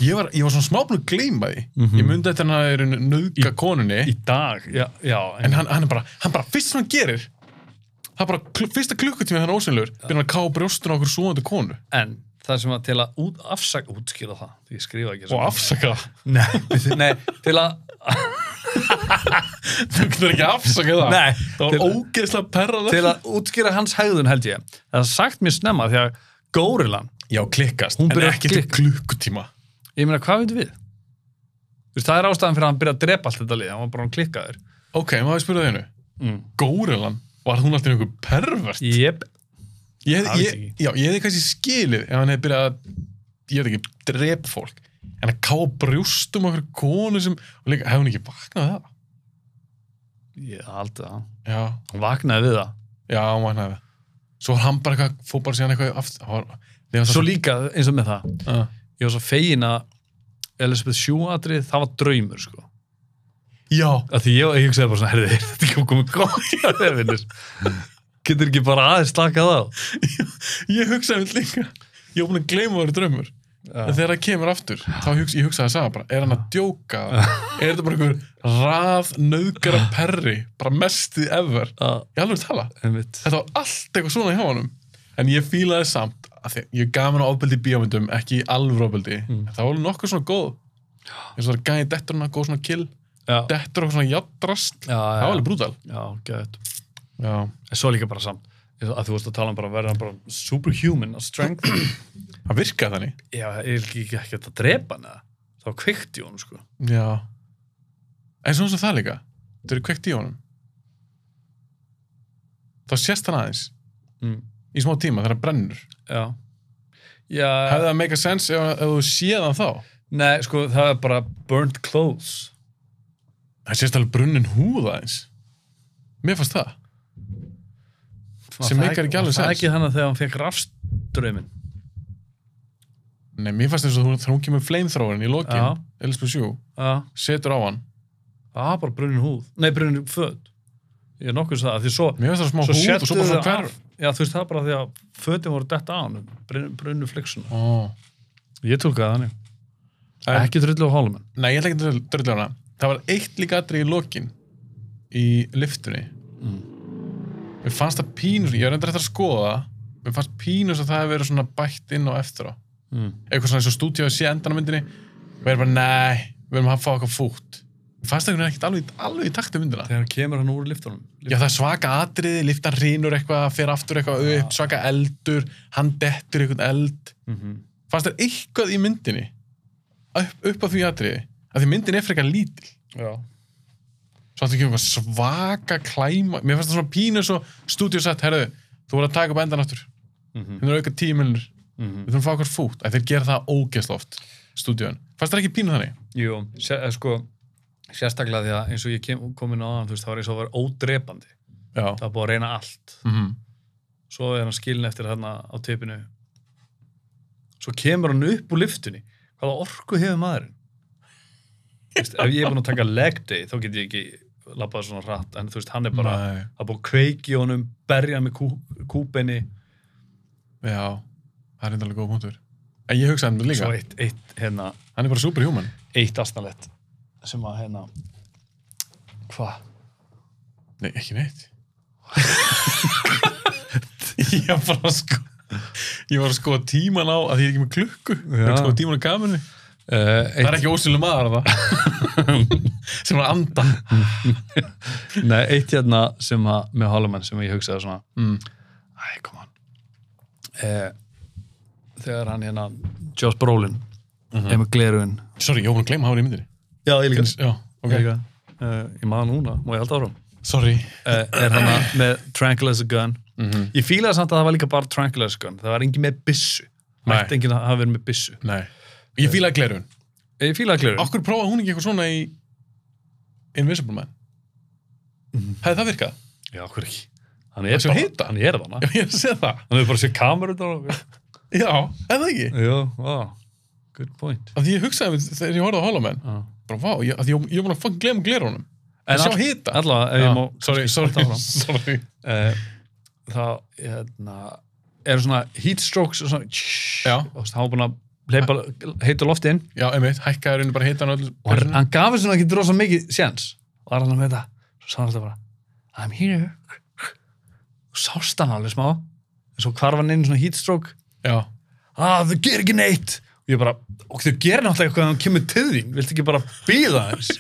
A: Ég var, ég var svona smábúin að gleyma því.
B: Mhm.
A: Ég myndi eftir hann að það er nöðga konunni
B: Í dag, já, já.
A: en hann, hann er bara, hann bara, fyrst sem hann gerir það er bara, kl fyrsta klukkutími hann er ósynlegur, byrjar hann að ká brjóstun á okkur svoðandi konu
B: en það sem að til að út, afsaka, útskýra það, því ég skrifa ekki.
A: og afsaka það,
B: Nei, nei, til að,
A: þú getur ekki afsaka það
B: nei,
A: það var ógeðslega perrað
B: til að útskýra hans hegðun held ég. Það er sagt mér snemma því að górilan,
A: já, klikkast,
B: Hún
A: en
B: byrjar að
A: ekki til
B: klikka.
A: klukkutíma
B: ég meina, hvað veitum við? Þú veist, það er ástæðan fyrir að hann byrja að drepa allt þetta lið, hann var bara hann klikkaður.
A: ok, maður að spyrja það einu,
B: Mm.
A: górilan var hún alltaf einhver pervert
B: Jep.
A: ég,
B: það
A: hef,
B: veit
A: ég,
B: ég
A: já, ég hefði kannski skilið ef hann hefði byrjað að, ég veit ekki, drep fólk en að ká brjóstum á okkur konu sem, og líka, hefði hún ekki vaknað við það
B: Ég haldi það.
A: já,
B: Hann vaknaði við það.
A: Já, hann vaknaði við. Svo var hann bara eitthvað, fór bara síðan eitthvað aftur. Hann var, Nei, hann
B: Svo líka eins og með það.
A: Uh.
B: Ég var svo fegin að Elizabeth Shue-atrið, það var draumur, sko.
A: Já,
B: Af því ég, ég hugsaði bara svona, herði, þetta er ekki komið gott hjá þér, vinnur. Getur ekki bara aðeins slakað á.
A: ég hugsaði mér líka. Ég var búin að gleyma það eru draumur. En þegar það kemur aftur, þá hugsa, ég hugsaði það sama bara, er hann að djóka? er þetta bara einhver rað nöðgara perri, bara mestið ever?
B: Það,
A: Ég alveg tala.
B: einmitt.
A: Þetta var allt eitthvað svona hjá honum. En ég fílaði samt, að því ég gaf hann á ofbeldi í bíómyndum, ekki í alvöru ofbeldi.
B: Mm.
A: En Það var alveg nokkuð svona góð. Ég svo það er gæði dettur hann að góð svona kill,
B: Já,
A: dettur okkur svona jadrast.
B: já,
A: Það var
B: já.
A: alveg brútal.
B: Já, gæðið.
A: Já.
B: En svo líka bara samt, eins og að þú vorst að tala um bara að verða bara superhuman og strength.
A: Það virkaði þannig.
B: Já, ég er ekki ekki hægt að drepa hann eða. Þá kveikti hún, sko.
A: Já. En svona sem það líka. Þetta eru kveikt í honum. Þá sést hann aðeins.
B: Mm.
A: Í smá tíma þegar hann brennur.
B: Já. Já.
A: Hefði það make a sense ef, ef þú séð hann þá?
B: Nei, sko, það er bara burnt clothes.
A: Það sést alveg brunnin húð aðeins. Mér fannst það. Sem
B: Var það
A: meikar ekki alveg
B: var Það
A: sens.
B: ekki hann að þegar hann fekk rafströmmin.
A: Nei, mér fannst eins og þú- þegar hún kemur flamethrowerinn í
B: Já.
A: lokin, Elspeth Shue,
B: Já,
A: setur á hann.
B: það var bara brunin húð. Nei, brunin föt. Ég er nokkuð sem það, af því svo...
A: Mér fannst það smá
B: Svo
A: húð og
B: settu
A: svo bara
B: þau
A: svona
B: af.
A: hverf.
B: Já, þú veist, það er bara því að fötin voru detta á hann, brunnu fliksuna.
A: Ó.
B: Ég tólkaði þannig.
A: En-
B: Ekki drullu á hálum en.
A: Nei, ég ætla ekki að dröðla hana. Það var eitt líka atrið í lokin í liftunni.
B: Mm.
A: Mér fannst það pínus, ég var reyndar eftir að skoða það, mér fannst pínus að það hefði verið svona bætt inn og eftir á.
B: Mm.
A: Eitthvað svona eins og stúdíu að sé endan á myndinni, við erum bara, nei, við erum að fá eitthvað fútt. Mér fannst það ekkert alveg, alveg í takt um myndina.
B: Þegar hann kemur hann úr liftunum.
A: Já, það er svaka atriði, liftan rínur eitthvað, fer aftur eitthvað upp, svaka eldur, hann dettur eitthvað eld.
B: Mm -hmm.
A: Fannst það eitthvað í myndinni, upp, upp á því atriði, að því myndin er frekar lítil.
B: Já.
A: svo ættu ekki um eitthvað svaka klæma mér fannst það svona pínu svo stúdíu sett, herðu, þú voru að taka upp endan aftur við
B: Mhm.
A: þurfum að auka tíu minnur,
B: Mhm.
A: við þurfum að fá okkur fútt að þeir gera það ógeðsla oft, stúdíun fannst það ekki pínu þannig?
B: Jú, sé, eh, sko, sérstaklega því að eins og ég kem, kom inn á hann, þú veist, það var eins og það var ódrepandi.
A: Já,
B: Það var búið að reyna allt.
A: mm
B: Svo er hann skilin eftir þarna á tipinu. Svo kemur hann upp úr liftunni. Hvaða orku hefur maðurinn? Þú veist, ef ég er búin að taka leg day, þá get ég ekki labbað svona hratt. En þú veist, hann er bara,
A: Nei,
B: það er búið að kveiki honum, berja hann með kú, kúpenni.
A: já, það er reyndalega góð punktur en ég hugsaði um þetta líka,
B: Svo eitt, eitt, hérna,
A: hann er bara superhuman
B: eitt asnalett sem að, hérna, hvað?
A: nei, ekki neitt ég var bara að sko ég var að sko tíman á að því ég er ekki með klukku ég var að
B: Já.
A: sko tíman á kamerunni
B: Uh,
A: það er ekki ósynlega maður það sem var að anda
B: Nei, eitt hérna sem að, með Holloman sem ég hugsaði svona, hmm,
A: mm.
B: æ, kom hann. Eh, þegar hann hérna, Josh Brolin, er með glerun.
A: sorry, ég var búin að gleyma að hafa hann í myndinni
B: Mhm. Já, ég
A: já, ok,
B: Okay. Ég, uh, ég maður núna, má ég halda árum.
A: sorry
B: Eh, er hann að- með Tranquilizer Gun.
A: mm
B: Ég fílaði samt að það var líka bara Tranquilizer Gun, það var engin með byssu.
A: Nei.
B: Mætti engin að hafa verið með byssu.
A: nei, ég fílaði glerun
B: Ég fílaði glerun.
A: okkur prófaði hún ekki eitthvað svona í Invisible Man
B: Mhm.
A: hefði það virkað?
B: Já, okkur ekki. Hann er
A: Hann sé
B: bara,
A: hita.
B: hann er þarna.
A: já, ég sé það
B: Hann hefur bara séð kamerun þarna.
A: já, eða ekki
B: Já, wow, good point.
A: að því ég hugsaði mér þegar ég horfði á Hollow Man
B: Já.
A: bara vá, ég, að því ég, ég var búin að fann glema glerunum
B: En
A: að sjá
B: all-
A: hita
B: Allavega, ef
A: Já,
B: ég má
A: sorry,
B: kannski halda
A: sorry,
B: áfram.
A: sorry
B: Eh, Þá, hérna eru svona heat strokes og svona tsh,
A: Já.
B: og þá er búin að hleypa heita loft inn
A: já, einmitt, hækkaði rauninu bara hitan öll
B: og hann, hann gaf þessu ekki drosa mikið séns og var hann með þetta svo sá hann alltaf bara I'm here og sást hann alveg smá en svo hvarf hann inn í svona heat stroke
A: já,
B: ah, þau gerir ekki neitt og ég bara, og þau gerir náttúrulega eitthvað að hann kemur til þín, viltu ekki bara býða hans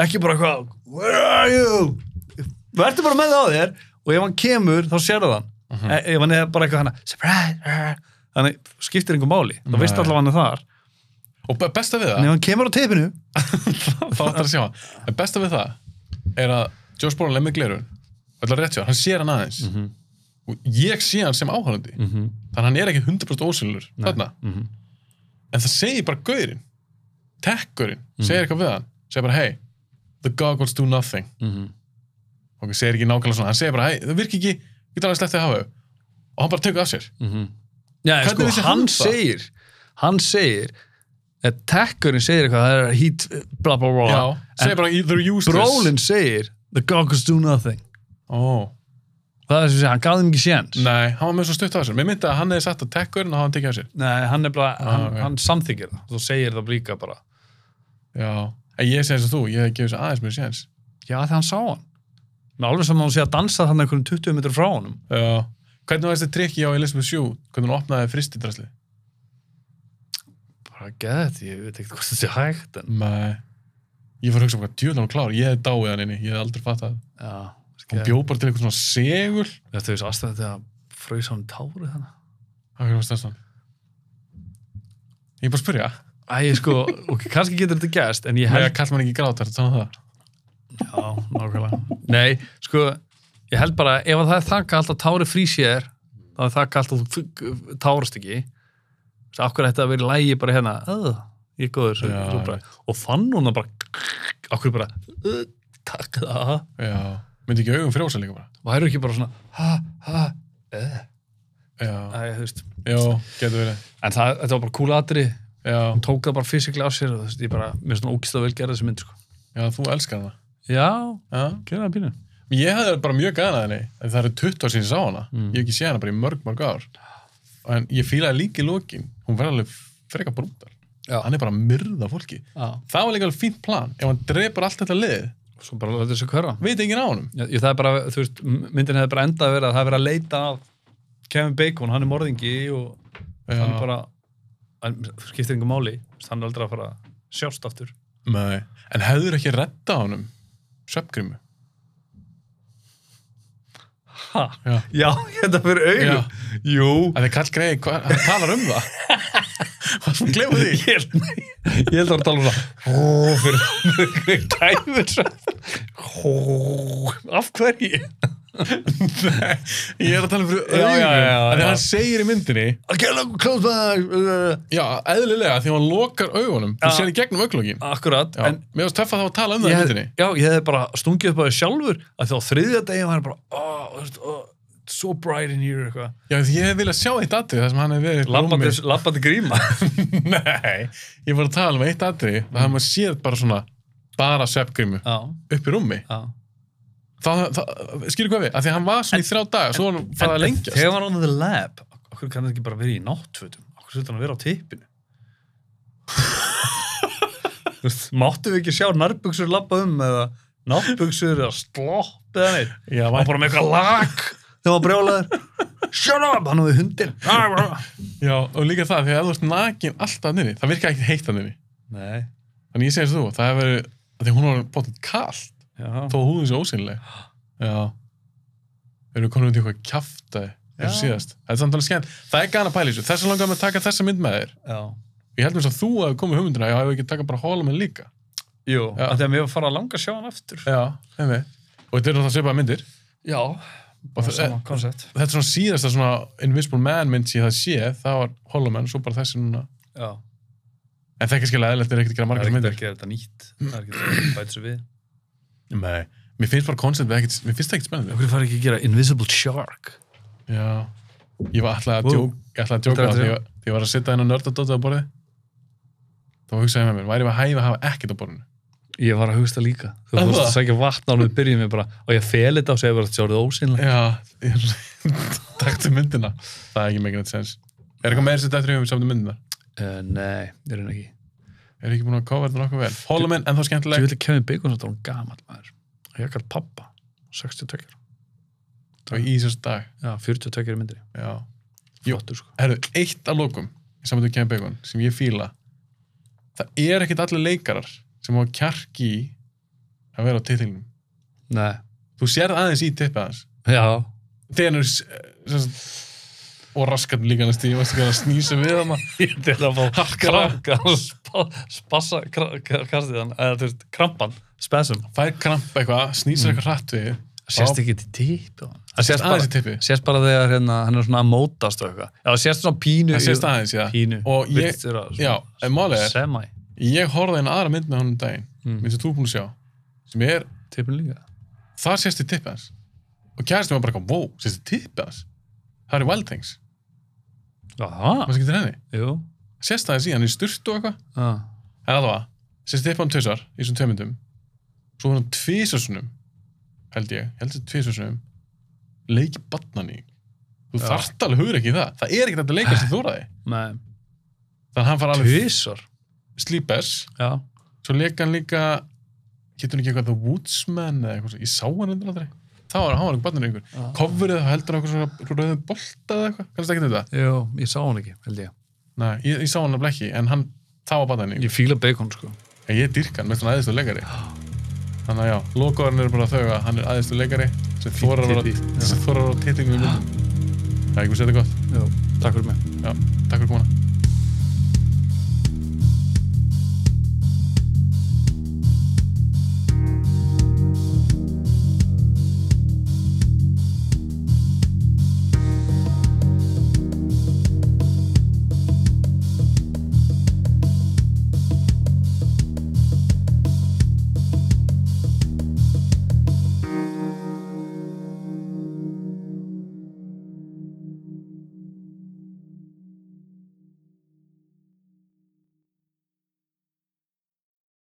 B: ekki bara eitthvað where are you verður bara með það á þér og ef hann kemur þá sérðu þann uh ef hann er bara eitthvað hana surprise uh, þannig skiptir einhver máli, þá veist
A: Nei.
B: allavega hann er þar
A: og be- besta við
B: en
A: það
B: ef hann kemur á teipinu
A: þá ætlar að sjá hann en besta við það er að Josh Brolin lemmi glerun ætlar rétt hjá, hann sér hann aðeins
B: Mhm,
A: og ég sé hann sem áhörandi
B: -hmm.
A: þannig að hann er ekki 100% ósynlur þarna,
B: mm -hmm.
A: en það segir bara gaurinn tekkurinn, segir eitthvað við hann segir bara hey, the goggles do nothing
B: Mm -hmm.
A: og segir ekki nákvæmlega svona, hann segir bara hey, það virki ekki, getur alveg slepptið að hafa þau." og hann bara tekur af sér
B: Mm Já,
A: Mhm. Hvernig
B: sko,
A: vissi
B: hann
A: hann það?
B: segir hann segir að tekkurinn segir eitthvað, það er heat eh, bla bla bla
A: já, segir bara they're useless
B: Brolin segir the goggles do nothing
A: Ó.
B: það er sem sé, hann gaf þeim ekki séns
A: nei, hann var með svo stutt af sér mér myndi að hann hefði sagt að tekkurinn og hann tekið af sér
B: Nei, hann er bara, hann,
A: Ah, ok.
B: hann samþykir það þú segir það líka bara
A: já, en ég segi eins og þú, ég hefði gefið sér aðeins mér séns
B: já, þegar hann sá hann með alveg sem að hún sé að dansa þannig einhverjum 20 metri frá honum
A: já, hvernig var þessi trikki á Elizabeth Shue hvernig hún opnaði fristidrasli
B: bara geða þetta, ég veit ekki hvort þetta sé hægt en
A: nei, ég fór að hugsa um hvað djúðan hún klár, ég hefði dáið hann inni, ég hefði aldrei fatt að
B: já,
A: hún bjó bara til eitthvað svona segul
B: þetta er aðstæða þetta að frausa hann tári þannig
A: hann fyrir að stæðst hann ég er bara að spyrja,
B: Æ, sko, ok, kannski getur þetta gerst en ég
A: með að
B: held,
A: kall ekki gráta er þetta þannig það
B: já, nákvæmlega nei, sko, ég held bara ef að það er þakka alltaf tári frísér þá er þakka alltaf þú f- tárast ekki þess að okkur ætti að vera í lægi bara hérna, öð, ég er góður svo,
A: Já,
B: svo bara, og fann hún það bara okkur bara, "Ugh, takk það
A: Já, myndi ekki augum frjósa líka bara.
B: væru ekki bara svona ha, ha, eh,
A: Já,
B: Æ, þú veist.
A: já, getur verið.
B: en það, þetta var bara kúlaðri hún
A: Já,
B: tók það bara fysikli af sér og þú veist, ég bara, mér finnst hún ógist að velgerða þessi mynd sko.
A: já, þú elskar hana.
B: já,
A: Já.
B: gera það pínu
A: Ég hefði bara mjög gæðan að henni, en það eru 20 ár síðan ég sá hana.
B: Mm.
A: Ég hef ekki séð hana bara í mörg, mörg ár. En ég fílaði líka í lokin, hún verði alveg freka brúndar.
B: Já.
A: Hann er bara að myrða fólki.
B: já.
A: Það var líka alveg fínt plan. Ef hann drepar allt þetta lið,
B: svo bara láta þessu hverfa
A: veit enginn á honum.
B: Já, ég, það er bara, þú veist, m- myndin hefði bara endað að vera að það hefði verið að leita af Kevin Bacon, hann er morðingi og
A: Já.
B: hann bara hann skiptir yngur máli, þú veist, hann er aldrei að fara að sjást aftur
A: Nei. En hefur ekki redda honum söpgrimu?
B: ha?
A: Já.
B: já, þetta fyrir
A: Já.
B: augum jú,
A: Að þið kall greið, hvað- hann talar um það. Hvað sem glemur því?
B: ég held ég held að það var að tala um það hó, fyrir dæmur af hverju
A: Nei, ég er að tala um fyrir
B: Já,
A: augun
B: já, já, já,
A: Þegar
B: já.
A: hann segir í myndinni
B: Close back uh,
A: Já, eðlilega, þegar hann lokar augunum Þú
B: Já.
A: sér í gegnum auglokkin
B: Akkurat,
A: Já,
B: en
A: mér varst töff að það var að tala um það í
B: ég,
A: myndinni
B: já, ég hefði bara stungið upp á því sjálfur að því á þriðja degi var hann bara oh, þú veist, oh, it's so bright in here eitthvað
A: Já, því ég hef viljað sjá eitt atrið þar sem hann hefur verið í
B: Labbandi,
A: rúmi.
B: labbandi gríma
A: Nei, ég var að tala um eitt atrið Það mm. maður sér bara svona bara sveppgrímu
B: Já,
A: upp í rúmi
B: já
A: það, það, Skilur hvað við, að því að hann var svona í þrjá daga Svo var hann farið að lengjast
B: Þegar hann var á the lab Okkur kann það ekki bara verið í náttfötum Okkur svolítið hann að vera á tippinu Þú veist, Máttum við ekki sjá nærbuxur labba um eða náttbuxur eða slopp eða neitt
A: Já,
B: Hann var bara með eitthvað lag þegar hann var brjólaður Shut up, hann var við hundin
A: já, og líka það, þegar þú ert nakin alltaf nynni Það virka ekkert heitt að nynni
B: Nei,
A: Þannig ég segir þú, það hefur verið af Því að hún var bóttið kallt
B: já
A: þó húðin sé ósynleg já við erum komin út í eitthvað kjafta eins og
B: Já.
A: síðast þetta er samt alveg skemmt það er gana pæli í þessu þess að langar með að taka þessa mynd með þér
B: Já,
A: ég held mér svo að þú hefði komið hugmyndina já, hefur ekki taka bara hólumenn líka
B: jú,
A: Já.
B: að því að mér var að fara að langa að sjá hann aftur
A: já hefði og þetta eru náttúrulega svipaða myndir
B: Já,
A: það-
B: bara sama koncept
A: þetta er svona síðasta svona Invisible Man mynd sem ég það sé það var hólumenn svo bara þessi núna
B: Já,
A: en það er ekki skilja eðlert er ekkert að gera
B: það
A: margar
B: er ekkert
A: myndir
B: að gera þetta nýtt Það er ekkert að bæta svo við
A: nei mér finnst bara koncept ekkert mér finnst það ekkert spennandi
B: Okkur fara ekki að gera Invisible Shark
A: já ég var alltaf að
B: Wow.
A: djóka ég ætlaði að djóka
B: Þetta er
A: því ég var- því ég var að sitta inn á nördadótið á borði þá hugsaði ég með mér væri við hæfi að hafa ekkert á borðinu
B: Ég var að hugsta líka. Þú
A: Er
B: fórst
A: það?
B: að sækja vatn ánum við byrjum ég bara og ég fel þetta og segja bara að sjáðu ósynlega.
A: Já, takktu myndina Það er ekki making it sense Er eitthvað meira sem þetta eftir í samt um myndina?
B: Uh, nei, ég reyna ekki.
A: Er ekki búin að cover þetta nokkuð vel? Holomen, en þá
B: Ég
A: skemmtileg
B: vil Kevin Bacon þetta var hún gamall maður. Og ég kallt pappa, 62 ára.
A: Það var í þessu dag
B: Já, 42 ára myndir.
A: Já. Jú.
B: Flottur sko.
A: Herru, eitt að lokum í samt um Ken Bacon sem ég fíla Það er ekkit allir leikarar sem hafa kjark í að vera á titlinum
B: Nei.
A: Þú sérð aðeins í tippið aðeins
B: Já.
A: Þegar hann er og raskat líka næst í, ég veist ekki að snýsa við hana
B: Ég til að fá
A: Harkar
B: spa- spassa, kra- ka- kastið hann, eða þú veist, krampan, spesum.
A: fær kramp eitthvað, snýsir eitthvað hratt við
B: Það sést ekki til típ. Það
A: sést
B: sést bara,
A: aðeins í tippi.
B: sést bara þegar hérna, hann er svona að mótast og eitthvað. Já, það sést svona pínu.
A: það sést
B: í-
A: aðeins, já
B: Pínu.
A: og ég,
B: Virtist vera svona-
A: já, en málið er
B: Semi.
A: ég horfði á eina aðra mynd með honum um daginn
B: Mm.
A: mynd sem þú er búin að sjá sem er,
B: Tipin líka.
A: það sést í tippið hans og kæristin var bara eitthvað, wow, sést í tippið hans það er í Wild Things,
B: Aha,
A: maður skiptir henni
B: jú.
A: sést það í hann í sturt og eitthvað
B: Ah.
A: en allavega, sést í tippið hann tvisar í þessum tveimundum svo hann tvisasunum held ég, held ég tvisasunum leiki batnan í þú
B: Já.
A: þarft alveg hugur ekki í það það er ekkert þetta leikast í þóraði
B: Nei,
A: þannig að hann fara alveg
B: tvisar
A: Sleepers
B: Já,
A: svo leik hann líka getur hann ekki eitthvað The Woodsman eða eitthvað svo, ég sá hann endur aldrei þá var hann, hann var eitthvað barnir yngur
B: Ah.
A: coverið þá heldur hann eitthvað svona rauðum bolta eða eitthvað, kannski ekki þetta
B: jú, ég sá hann ekki, held ég
A: Nei, ég, ég sá hann alveg ekki, en hann þá var barnir yngur
B: Ég fíla bacon, sko
A: en ég dýrk hann, með svona æðistu leikari þannig að já, lokaðurinn eru bara þau að hann er æðistu leikari sem þórar að
B: titill,
A: vera-
B: já.
A: sem þorar að vera tittingum í myndum það er ekki að segja þetta gott,
B: Jú, takk fyrir mig
A: já, takk fyrir komuna